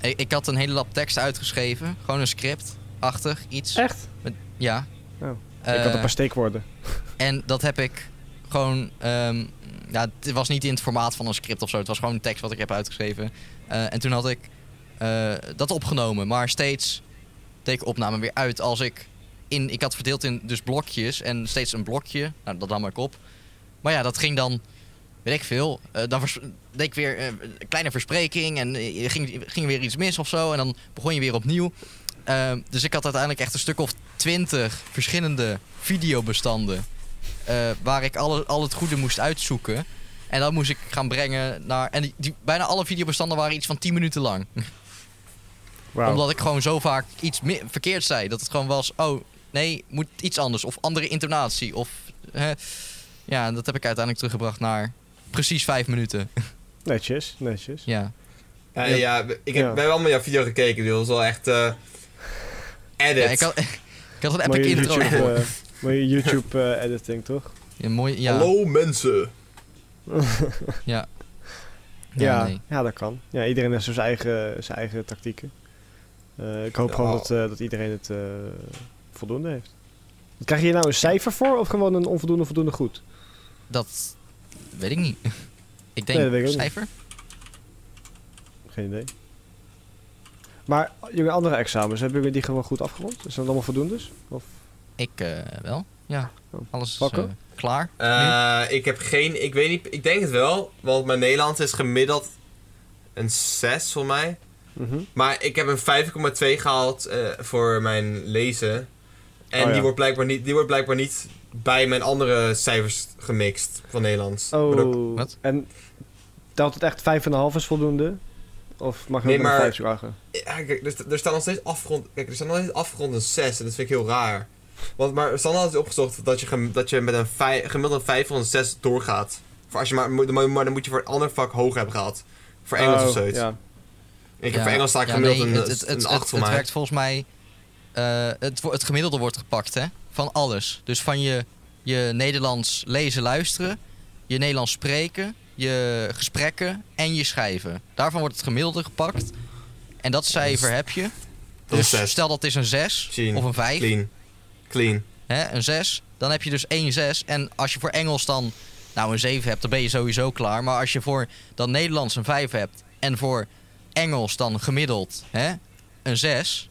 S2: ik, ik had een hele lap tekst uitgeschreven. Gewoon een script. Achter iets.
S3: Echt?
S2: Ja.
S3: Eh? Oh.
S2: Eh,
S3: ik had een paar steekwoorden.
S2: En dat heb ik gewoon. ehm, ja, het was niet in het formaat van een script of zo. Het was gewoon een tekst wat ik heb uitgeschreven. Eh, en toen had ik eh, dat opgenomen. Maar steeds deed ik opname weer uit als ik. In, ik had verdeeld in dus blokjes en steeds een blokje. Nou, dat nam ik op. Maar ja, dat ging dan, weet ik veel. eh, dan vers- deed ik weer eh, een kleine verspreking en eh, ging, ging weer iets mis of zo. En dan begon je weer opnieuw. Eh, dus ik had uiteindelijk echt een stuk of twintig verschillende videobestanden. eh, waar ik alle, al het goede moest uitzoeken. En dat moest ik gaan brengen naar. En die, die- bijna alle videobestanden waren iets van 10 minuten lang.
S3: Wauw.
S2: Omdat ik gewoon zo vaak iets mi- verkeerd zei. Dat het gewoon was, oh nee, moet iets anders. Of andere intonatie. Of, hè. Ja, en dat heb ik uiteindelijk teruggebracht naar precies vijf minuten. [LAUGHS]
S3: Netjes, netjes.
S2: ja.
S1: Ja,
S2: Ja.
S1: ja, we- ik heb,
S3: Ja.
S1: we hebben allemaal jouw video gekeken, dude. Dat was wel echt... eh edit.
S2: ja ik, had, [LAUGHS] ik had een
S3: Mooie
S2: epic intro.
S3: YouTube,
S2: ervoor.
S3: eh,
S2: [LAUGHS]
S3: mooie YouTube eh, editing, toch?
S2: Ja, mooi, ja.
S1: Hallo mensen.
S2: Ja,
S3: Ja,
S2: nee.
S3: ja, dat kan. Ja, iedereen heeft zo zijn eigen, zijn eigen tactieken. Eh, ik hoop
S1: Ja.
S3: gewoon dat, eh, dat iedereen het eh, voldoende heeft. Krijg je hier nou een cijfer voor of gewoon een onvoldoende voldoende goed?
S2: Dat weet ik niet. [LAUGHS] Ik
S3: Nee, dat
S2: denk
S3: weet ik ook niet.
S2: cijfer.
S3: Geen idee. Maar jullie andere examens, hebben jullie die gewoon goed afgerond? Is dat allemaal voldoendes? Of
S2: Ik eh, wel. Ja,
S3: Oh,
S2: alles is
S3: pakken.
S2: eh, klaar.
S1: Eh,
S2: Hm?
S1: ik heb geen, ik weet niet, ik denk het wel, want mijn Nederlands is gemiddeld een 6 voor mij.
S3: Mhm.
S1: Maar ik heb een 5,2 gehaald eh, voor mijn lezen. En
S3: Oh ja.
S1: die, wordt blijkbaar niet, die wordt blijkbaar niet bij mijn andere cijfers gemixt van Nederlands. Waardoor-
S3: Oh,
S2: Wat?
S3: en telt het echt 5,5 is voldoende? Of mag je
S1: Nee,
S3: ook nog
S1: maar-
S3: 5 vragen?
S1: Ja, kijk, er, st- er staan nog steeds afgrond. Kijk, er staan nog steeds afgrond een 6 en dat vind ik heel raar. Want maar Stan had het opgezocht dat je, gem- dat je met een vij- gemiddeld een 5 van een 6 doorgaat. Voor als je maar, moet- maar dan moet je voor een ander vak hoog hebben gehaald. Voor Engels of
S3: Oh,
S1: zoiets.
S3: Ja.
S1: Ik
S2: Ja.
S1: heb voor Engels sta ik
S2: Ja,
S1: gemiddeld
S2: nee,
S1: een,
S2: het- het- het-
S1: een 8
S2: het-
S1: voor
S2: Het
S1: mij.
S2: werkt volgens mij... eh, het, wo- het gemiddelde wordt gepakt, hè? Van alles. Dus van je, je Nederlands lezen, luisteren... je Nederlands spreken, je gesprekken en je schrijven. Daarvan wordt het gemiddelde gepakt. En dat cijfer heb je.
S1: Dat is
S2: Dus
S1: 6.
S2: stel dat het is een 6
S1: Zien.
S2: of een 5,
S1: Clean. Clean.
S2: hè, een 6... dan heb je dus 1 6. En als je voor Engels dan nou een 7 hebt, dan ben je sowieso klaar. Maar als je voor dan Nederlands een 5 hebt... en voor Engels dan gemiddeld hè, een 6.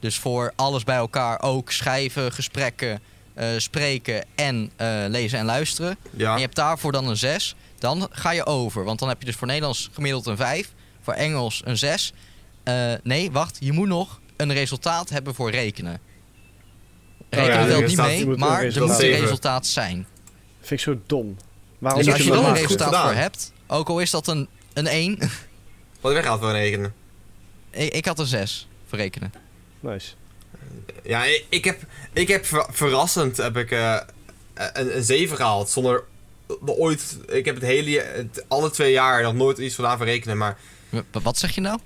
S2: Dus voor alles bij elkaar, ook schrijven, gesprekken, eh, spreken en eh, lezen en luisteren. En
S1: Ja.
S2: je hebt daarvoor dan een 6. Dan ga je over. Want dan heb je dus voor Nederlands gemiddeld een 5. Voor Engels een 6. Eh, nee, wacht. Je moet nog een resultaat hebben voor rekenen. Rekenen
S1: Oh ja,
S2: telt
S1: er
S2: niet
S1: staat-
S3: je
S2: mee,
S3: moet een
S2: maar er
S3: resultaat
S2: moet een
S1: hebben.
S2: resultaat zijn.
S3: Vind ik zo dom. Waarom
S2: Dus
S1: moet
S2: als
S1: je
S2: je
S1: hem
S2: dan
S1: dan
S2: een
S1: maken?
S2: resultaat
S1: Goed
S2: voor
S1: gedaan.
S2: hebt, ook al is dat een, een 1.
S1: Wat weghaalt voor rekenen.
S2: [LAUGHS] ik, ik had een 6 voor rekenen.
S3: Nice.
S1: Ja, ik, ik heb, ik heb ver- verrassend heb ik, eh, een, een 7 gehaald. Zonder de ooit. Ik heb het hele, je- het, alle twee jaar nog nooit iets vandaan verrekenen. Maar
S2: W- w- Wat zeg je nou?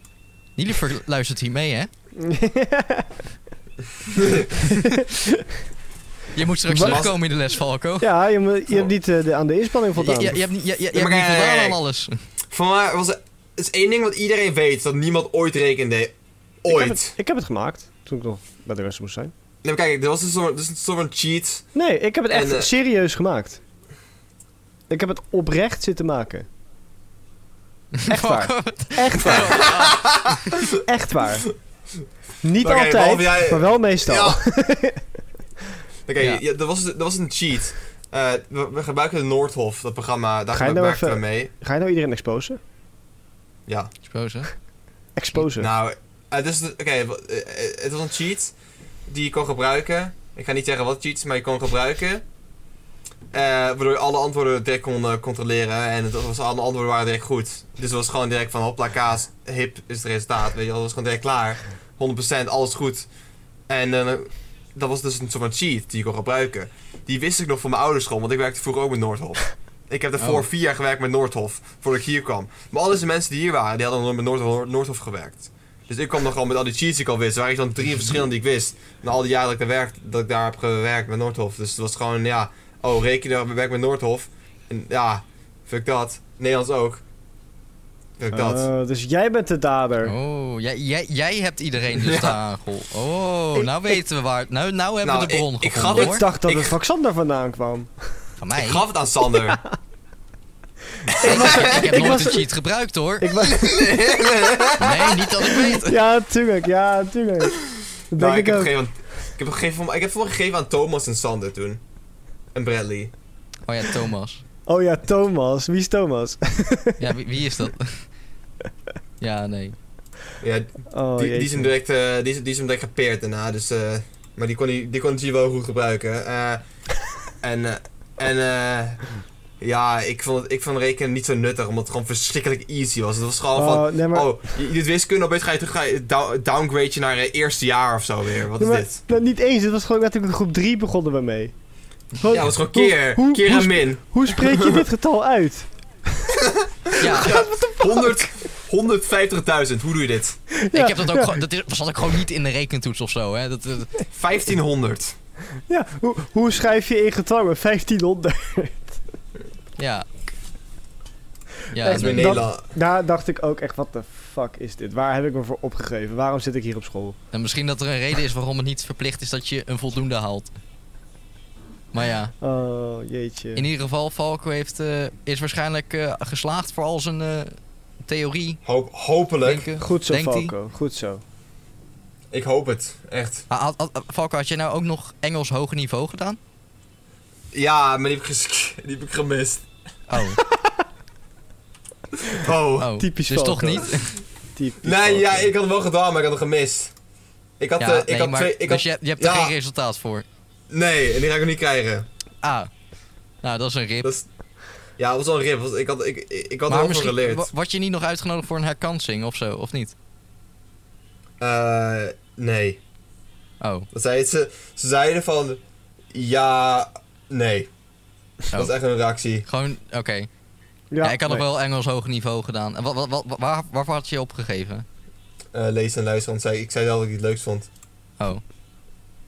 S2: Nieliver luistert hier
S1: [LAUGHS]
S2: mee, hè? Je moet straks
S1: Wat?
S2: terugkomen in de les, Falco.
S3: ja, je, moet- je hebt niet eh, de, aan de inspanning
S2: Je,
S3: voldaan.
S2: je, je hebt niet, je, je- je
S1: Ja, maar
S2: hebt niet
S1: kijk,
S2: voldaan
S1: kijk,
S2: aan alles.
S1: Van waar was het is één ding wat iedereen weet, dat niemand ooit rekende.
S3: Ik heb,
S1: Ooit.
S3: het, ik heb het gemaakt toen ik nog bij de rest moest zijn.
S1: Nee, maar kijk, er was een soort, dus een soort van cheat.
S3: Nee, ik heb het echt
S1: En, eh,
S3: serieus gemaakt. Ik heb het oprecht zitten
S1: [LAUGHS]
S3: maken. Echt waar.
S2: Falco,
S3: Echt waar. echt waar. Niet
S1: Oké,
S3: altijd,
S1: behalve jij-
S3: maar wel meestal.
S1: Ja. Oké,
S2: Ja.
S1: ja, er, was, er was een cheat. Eh, we, we gebruiken de Noordhof, dat programma, daar
S3: Ga je
S1: werken
S3: nou
S1: we
S3: even-
S1: mee.
S3: Ga je nou iedereen exposen?
S1: Ja.
S2: Expose.
S3: Exposen.
S1: Nou, eh, dus, de- oké, wa- eh, eh, het was een cheat die je kon gebruiken. Ik ga niet zeggen wat cheats, maar je kon gebruiken. Eh, waardoor je alle antwoorden direct kon eh, controleren. En het was, alle antwoorden waren direct goed. Dus het was gewoon direct van hopla kaas, hip is het resultaat. Weet je, wel, het was gewoon direct klaar. 100% alles goed. En eh, dat was dus een soort van cheat die je kon gebruiken. Die wist ik nog van mijn ouderschool, want ik werkte vroeger ook met Noordhof. Ik heb daarvoor
S2: Oh.
S1: vier jaar gewerkt met Noordhof, voordat ik hier kwam. Maar al deze mensen die hier waren, die hadden nog met Noordhof, Noordhof gewerkt. Dus ik kwam nog gewoon met al die cheats die ik al wist. Er waren iets van drie verschillende die ik wist. Na al die jaren dat ik, daar werk, dat ik daar heb gewerkt met Noordhof. Dus het was gewoon, ja, oh, rekenen, we werken met Noordhof. En ja, fuck dat. Nederlands ook. Fuck Nou, dat.
S3: Eh, dus jij bent de dader.
S2: Oh, jij, jij, jij hebt iedereen dus
S1: Ja.
S2: daar geholpen. Oh,
S3: Ik-
S2: nou
S3: ik-
S2: weten we waar... Nou, nou hebben
S1: Nou,
S2: we de bron
S1: ik- ik
S2: gevonden,
S1: gaf-
S2: hoor.
S3: Ik dacht dat
S1: Ik-
S3: het van Xander vandaan kwam.
S2: Van mij.
S1: Ik gaf het aan Sander.
S2: [LAUGHS] Ik, heb
S3: ik
S2: nooit
S3: was-
S2: een cheat gebruikt, hoor.
S3: Ik was...
S2: [LAUGHS] Nee, niet dat ik weet.
S3: Ja, tuurlijk, ja, tuurlijk. Dat denk
S1: Nou,
S3: ik,
S1: heb
S3: ook.
S1: gegeven aan- ik heb gegeven van, ik heb voor gegeven aan Thomas en Sander toen. En Bradley.
S2: Oh ja, Thomas.
S3: Oh ja, Thomas. Wie is Thomas?
S2: Ja, wie, wie is dat? Ja, nee.
S1: Ja,
S3: Oh,
S1: die, die, is
S3: jeetje.
S1: hem direct, eh, die, is, die is hem direct gepeerd daarna. Dus, eh, maar die kon hij die kon hij wel goed gebruiken. Eh, en eh, en eh, ja, ik vond, het- ik vond rekenen niet zo nuttig, omdat het gewoon verschrikkelijk easy was. Het was gewoon van,
S3: Oh, nee, maar...
S1: oh, je je doet wiskunde, opeens ga je terug, ga je down- downgrade je naar eh, eerste jaar of zo weer. Wat
S3: Nee,
S1: is
S3: maar-
S1: dit?
S3: Nou, niet eens, dit was gewoon natuurlijk in groep 3 begonnen we mee. Gewoon-
S1: Ja, het was gewoon
S3: hoe-
S1: keer,
S3: hoe-
S1: keer
S3: hoe
S1: en
S3: sp-
S1: min.
S3: Hoe spreek je dit getal uit? [LAUGHS]
S2: Ja,
S1: 100 150.000, hoe doe je dit?
S2: ik heb dat ook gewoon... Dat is- zat ik gewoon niet in de rekentoets of zo, hè. Dat, dat-
S1: 1500.
S3: Ja, hoe, hoe schrijf je in getallen 1500?
S2: ja. Ja,
S3: Echt
S1: Dat is bij
S2: nee.
S3: Dat-
S2: Eh,
S1: Nederland.
S3: Daar dacht ik ook echt, wat de fuck is dit? Waar heb ik me voor opgegeven? Waarom zit ik hier op school?
S2: En misschien dat er een reden is waarom het niet verplicht is dat je een voldoende haalt. Maar ja,
S3: Oh, jeetje.
S2: in ieder geval, Falco heeft, eh, is waarschijnlijk eh, geslaagd voor al zijn eh, theorie.
S1: Hoop, hopelijk.
S2: Denken.
S3: Goed zo,
S2: Denkt ie?
S3: Falco. Goed zo.
S1: Ik hoop het, echt.
S2: Ah, had- had- Falco, had jij nou ook nog Engels hoger
S1: [LAUGHS]
S2: niveau gedaan?
S1: Ja, maar die heb ik, ges- [LAUGHS] die heb ik gemist.
S2: Oh,
S1: Oh.
S2: oh.
S3: Typisch
S2: Dus toch
S3: Falco.
S2: niet?
S3: Typisch
S1: Nee,
S3: Falco.
S1: ja, ik had hem wel gedaan, maar ik had hem gemist. Ik had,
S2: Ja,
S1: eh, ik
S2: nee,
S1: had
S2: maar-
S1: twee... Ik
S2: dus
S1: had,
S2: je, je hebt er
S1: ja.
S2: geen resultaat voor.
S1: Nee, en die ga ik hem niet krijgen.
S2: Ah, nou dat is een rip.
S1: Dat is, ja, dat was wel een rip. want Ik had, ik, ik, ik had er
S2: maar
S1: wel van
S2: misschien
S1: geleerd.
S2: wa- word je niet nog uitgenodigd voor een herkansing of zo, of niet?
S1: Eh, nee.
S2: Oh,
S1: Dat zei het, ze, ze zeiden van... Ja, nee. Dat
S2: Oh.
S1: is echt een reactie.
S2: gewoon, oké.
S3: Ja,
S2: Ja, ik had
S3: nee.
S2: nog wel Engels hoog niveau gedaan. En wat, wat, wat, waar, waarvoor had je je opgegeven?
S1: Eh, lezen en luisteren, want zei, ik zei wel dat ik het leuk vond.
S2: Oh.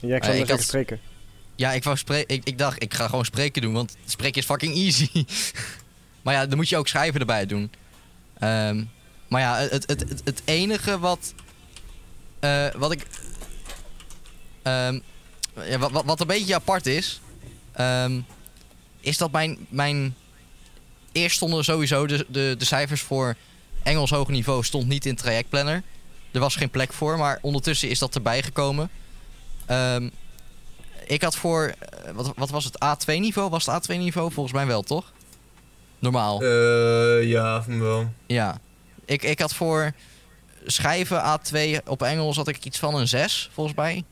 S3: Ja, ik
S2: Nee,
S3: zal nog
S2: ik had-
S3: even spreken.
S2: Ja, ik, wou spre- ik, ik dacht, ik ga gewoon spreken doen, want spreken is fucking easy. [LAUGHS] maar ja, dan moet je ook schrijven erbij doen. Ehm, maar ja, het, het, het, het enige wat. eh, wat ik. ehm, ja, wat, wat, wat een beetje apart is. ehm, is dat mijn. mijn eerst stonden sowieso de, de, de cijfers voor Engels hoog niveau stond niet in trajectplanner. Er was geen plek voor, maar ondertussen is dat erbij gekomen. Ehm, ik had voor, eh, wat, wat was het, A2-niveau? Was het A2-niveau? Volgens mij wel, toch? Normaal,
S1: Eh, ja, van wel.
S2: ja. Ik, ik had voor schrijven A2 op Engels had ik iets van een 6, volgens mij.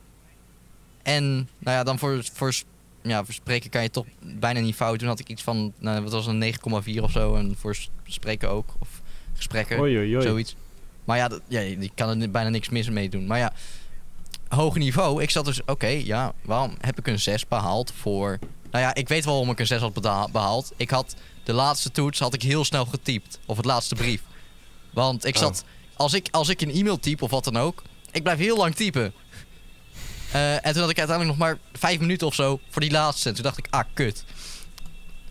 S2: En, nou ja, dan voor, voor, s- ja, voor spreken kan je toch bijna niet fout doen. Had ik iets van, nou, wat was het, een 9,4 of zo. En voor s- spreken ook, of gesprekken.
S3: Oei, oei, oei.
S2: Zoiets. Maar ja, dat, ja, je kan er ni- bijna niks mis mee doen. Maar ja, hoog niveau. Ik zat dus, oké, ja, waarom heb ik een 6 behaald voor... Nou ja, ik weet wel waarom ik een 6 had bedaal- behaald. Ik had de laatste toets had ik heel snel getypt. Of het laatste brief. Want ik
S1: Oh.
S2: zat... Als ik, als ik een e-mail typ of wat dan ook... Ik blijf heel lang typen. Eh, en toen had ik uiteindelijk nog maar vijf minuten of zo voor die laatste. En toen dacht ik, ah, kut.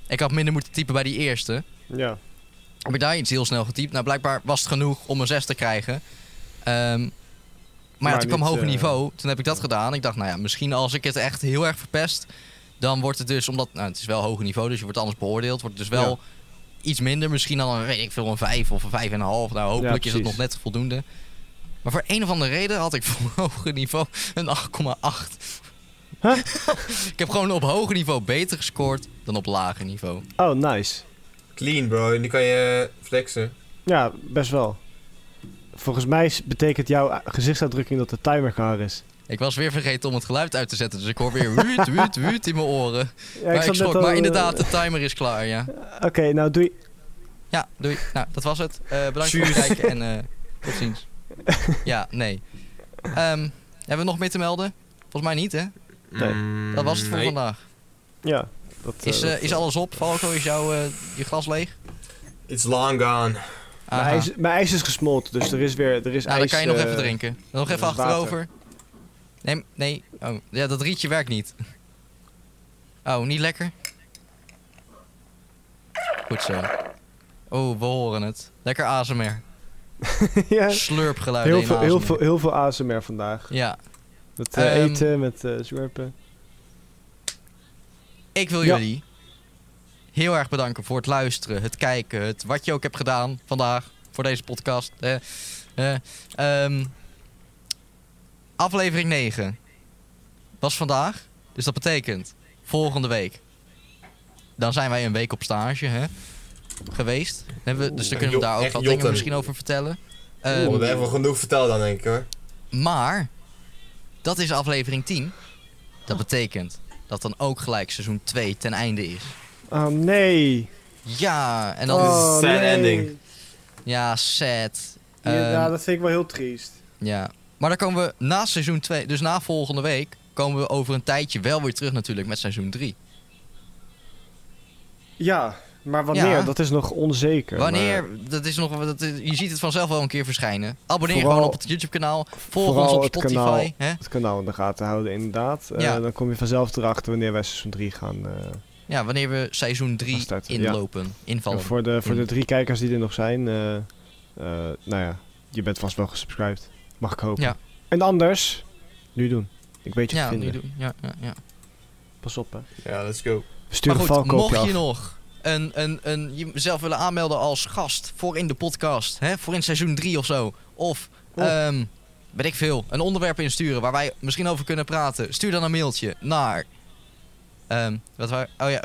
S2: Ik had minder moeten typen bij die eerste
S3: Ja.
S2: heb ik daar iets heel snel getypt. Nou, blijkbaar was het genoeg om een 6 te krijgen. Ehm, maar, ja,
S3: Maar
S2: toen kwam
S3: niet,
S2: hoger
S3: eh,
S2: niveau. Toen heb ik dat
S3: ja.
S2: gedaan. Ik dacht, nou ja, misschien als ik het echt heel erg verpest... dan wordt het dus, omdat... Nou, het is wel hoger niveau, dus je wordt anders beoordeeld. Wordt het dus wel iets minder. Misschien dan, een, weet ik veel, een 5 of een 5,5. Nou, hopelijk is het nog
S3: precies.
S2: net voldoende. Maar voor een of andere reden had ik [LAUGHS] voor hoger niveau een 8,8.
S3: Huh?
S2: [LAUGHS] ik heb gewoon op hoger niveau beter gescoord dan op lager niveau.
S3: Oh, nice.
S1: Clean, bro. En die kan je flexen.
S3: Ja, best wel. Volgens mij s- betekent jouw gezichtsuitdrukking dat de timer klaar is.
S2: Ik was weer vergeten om het geluid uit te zetten, dus ik hoor weer wuut, wuut, wuut in mijn oren.
S3: Ja,
S2: maar ik
S3: zat net
S2: schrok,
S3: al,
S2: maar
S3: eh,
S2: inderdaad, de timer is klaar, ja.
S3: Oké, nou doei.
S2: Ja, doei. Nou, dat was het. Eh, bedankt voor
S1: Tjus.
S2: het kijken en eh, tot ziens. Ja, nee. Ehm, hebben we nog meer te melden? Volgens mij niet, hè?
S3: Nee.
S1: Mm,
S2: Dat was het voor
S1: nee.
S2: vandaag.
S3: Ja. Dat, eh,
S2: Is, eh,
S3: dat-
S2: is alles op? Falco, is jouw eh, je glas leeg?
S1: It's long gone.
S2: Aha.
S3: Mijn ijs, mijn ijs Nou, is gesmolten, dus er is weer er is
S2: nou, dan
S3: ijs...
S2: kan je nog
S3: eh,
S2: even
S3: [LAUGHS]
S2: drinken. Dan nog
S3: dat
S2: even
S3: is water.
S2: achterover. Nee, nee. Oh, ja, dat rietje werkt niet. Oh, niet lekker? Goed zo. Oh, we horen het. Lekker ASMR.
S3: ja,
S2: Slurpgeluid
S3: heel,
S2: in
S3: veel, heel,
S2: ASMR.
S3: veel, heel veel ASMR vandaag.
S2: Ja,
S3: Met eh,
S2: Ehm,
S3: eten, met eh zwerpen.
S2: ik wil
S3: Ja.
S2: jullie heel erg bedanken voor het luisteren, het kijken, het wat je ook hebt gedaan vandaag voor deze podcast. Eh, eh, ehm, aflevering 9 was vandaag, dus dat betekent volgende week. Dan zijn wij een week op stage hè, geweest. Dan hebben we- dus dan
S1: Oeh,
S2: kunnen we
S1: jo-
S2: daar ook
S1: echt
S2: wat dingen
S1: jotten.
S2: misschien over vertellen.
S1: Oh,
S2: Ehm,
S1: we hebben wel genoeg verteld dan, denk ik hoor.
S2: Maar dat is aflevering 10. Dat betekent dat dan ook gelijk seizoen 2 ten einde is.
S3: Oh, nee.
S2: Ja, en dan.
S1: Oh. sad
S3: nee.
S1: ending.
S2: Ja, sad.
S3: Ja,
S2: Ehm,
S3: ja, dat vind ik wel heel triest.
S2: ja. Maar dan komen we na seizoen 2, dus na volgende week, komen we over een tijdje wel weer terug natuurlijk met seizoen 3.
S3: Ja, maar wanneer?
S2: Ja.
S3: Dat is nog onzeker.
S2: Wanneer, dat is nog, dat is- je ziet het vanzelf wel een keer verschijnen. Abonneer
S3: Vooral-
S2: gewoon op het YouTube kanaal, volg
S3: vooral
S2: ons op
S3: het
S2: Spotify. Hè?
S3: het kanaal in de gaten houden, inderdaad. Eh,
S2: Ja.
S3: dan kom je vanzelf erachter wanneer wij seizoen 3 gaan. eh,
S2: Ja, wanneer we seizoen 3
S3: Gaan starten, ja.
S2: inlopen, invallen.
S3: voor, de, voor de
S2: Mm.
S3: drie kijkers die er nog zijn, eh, eh, nou ja, je bent vast wel gesubscribed. Mag ik hopen.
S2: Ja.
S3: En anders, nu doen. Ik weet je te
S2: Ja, nu
S3: vinden.
S2: doen. Ja, ja, ja.
S3: Pas op, hè.
S1: Ja, let's go.
S3: Stuur een
S2: maar goed,
S3: valkoopje
S2: mocht
S3: af.
S2: je nog een, een, een, jezelf willen aanmelden als gast voor in de podcast, hè, voor in seizoen 3 of zo, of
S3: Oh.
S2: ehm, weet ik veel, een onderwerp insturen waar wij misschien over kunnen praten, stuur dan een mailtje naar ehm, wat waar, oh ja,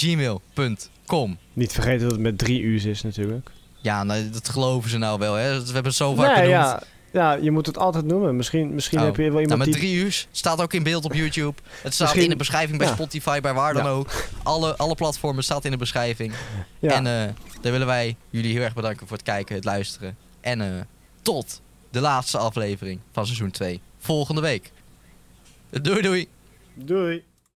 S2: gluurpodcast.gmail.com.
S3: Niet vergeten dat het met drie u's is natuurlijk.
S2: Ja, nou, dat geloven ze nou wel, hè? We hebben het zo vaak Nou,
S3: Nee,
S2: genoemd.
S3: Nou ja. ja, je moet het altijd noemen. Misschien, misschien
S2: Oh.
S3: heb je wel
S2: Nou,
S3: iemand
S2: met
S3: die...
S2: drie uur staat ook in beeld op YouTube. Het staat
S3: Misschien-
S2: in de beschrijving bij
S3: ja.
S2: Spotify, bij waar dan
S3: Ja.
S2: ook. Alle, alle platformen staat in de beschrijving.
S3: Ja.
S2: En eh, daar willen wij jullie heel erg bedanken voor het kijken, het luisteren. En eh, tot de laatste aflevering van seizoen 2. Volgende week. Doei doei.
S3: Doei.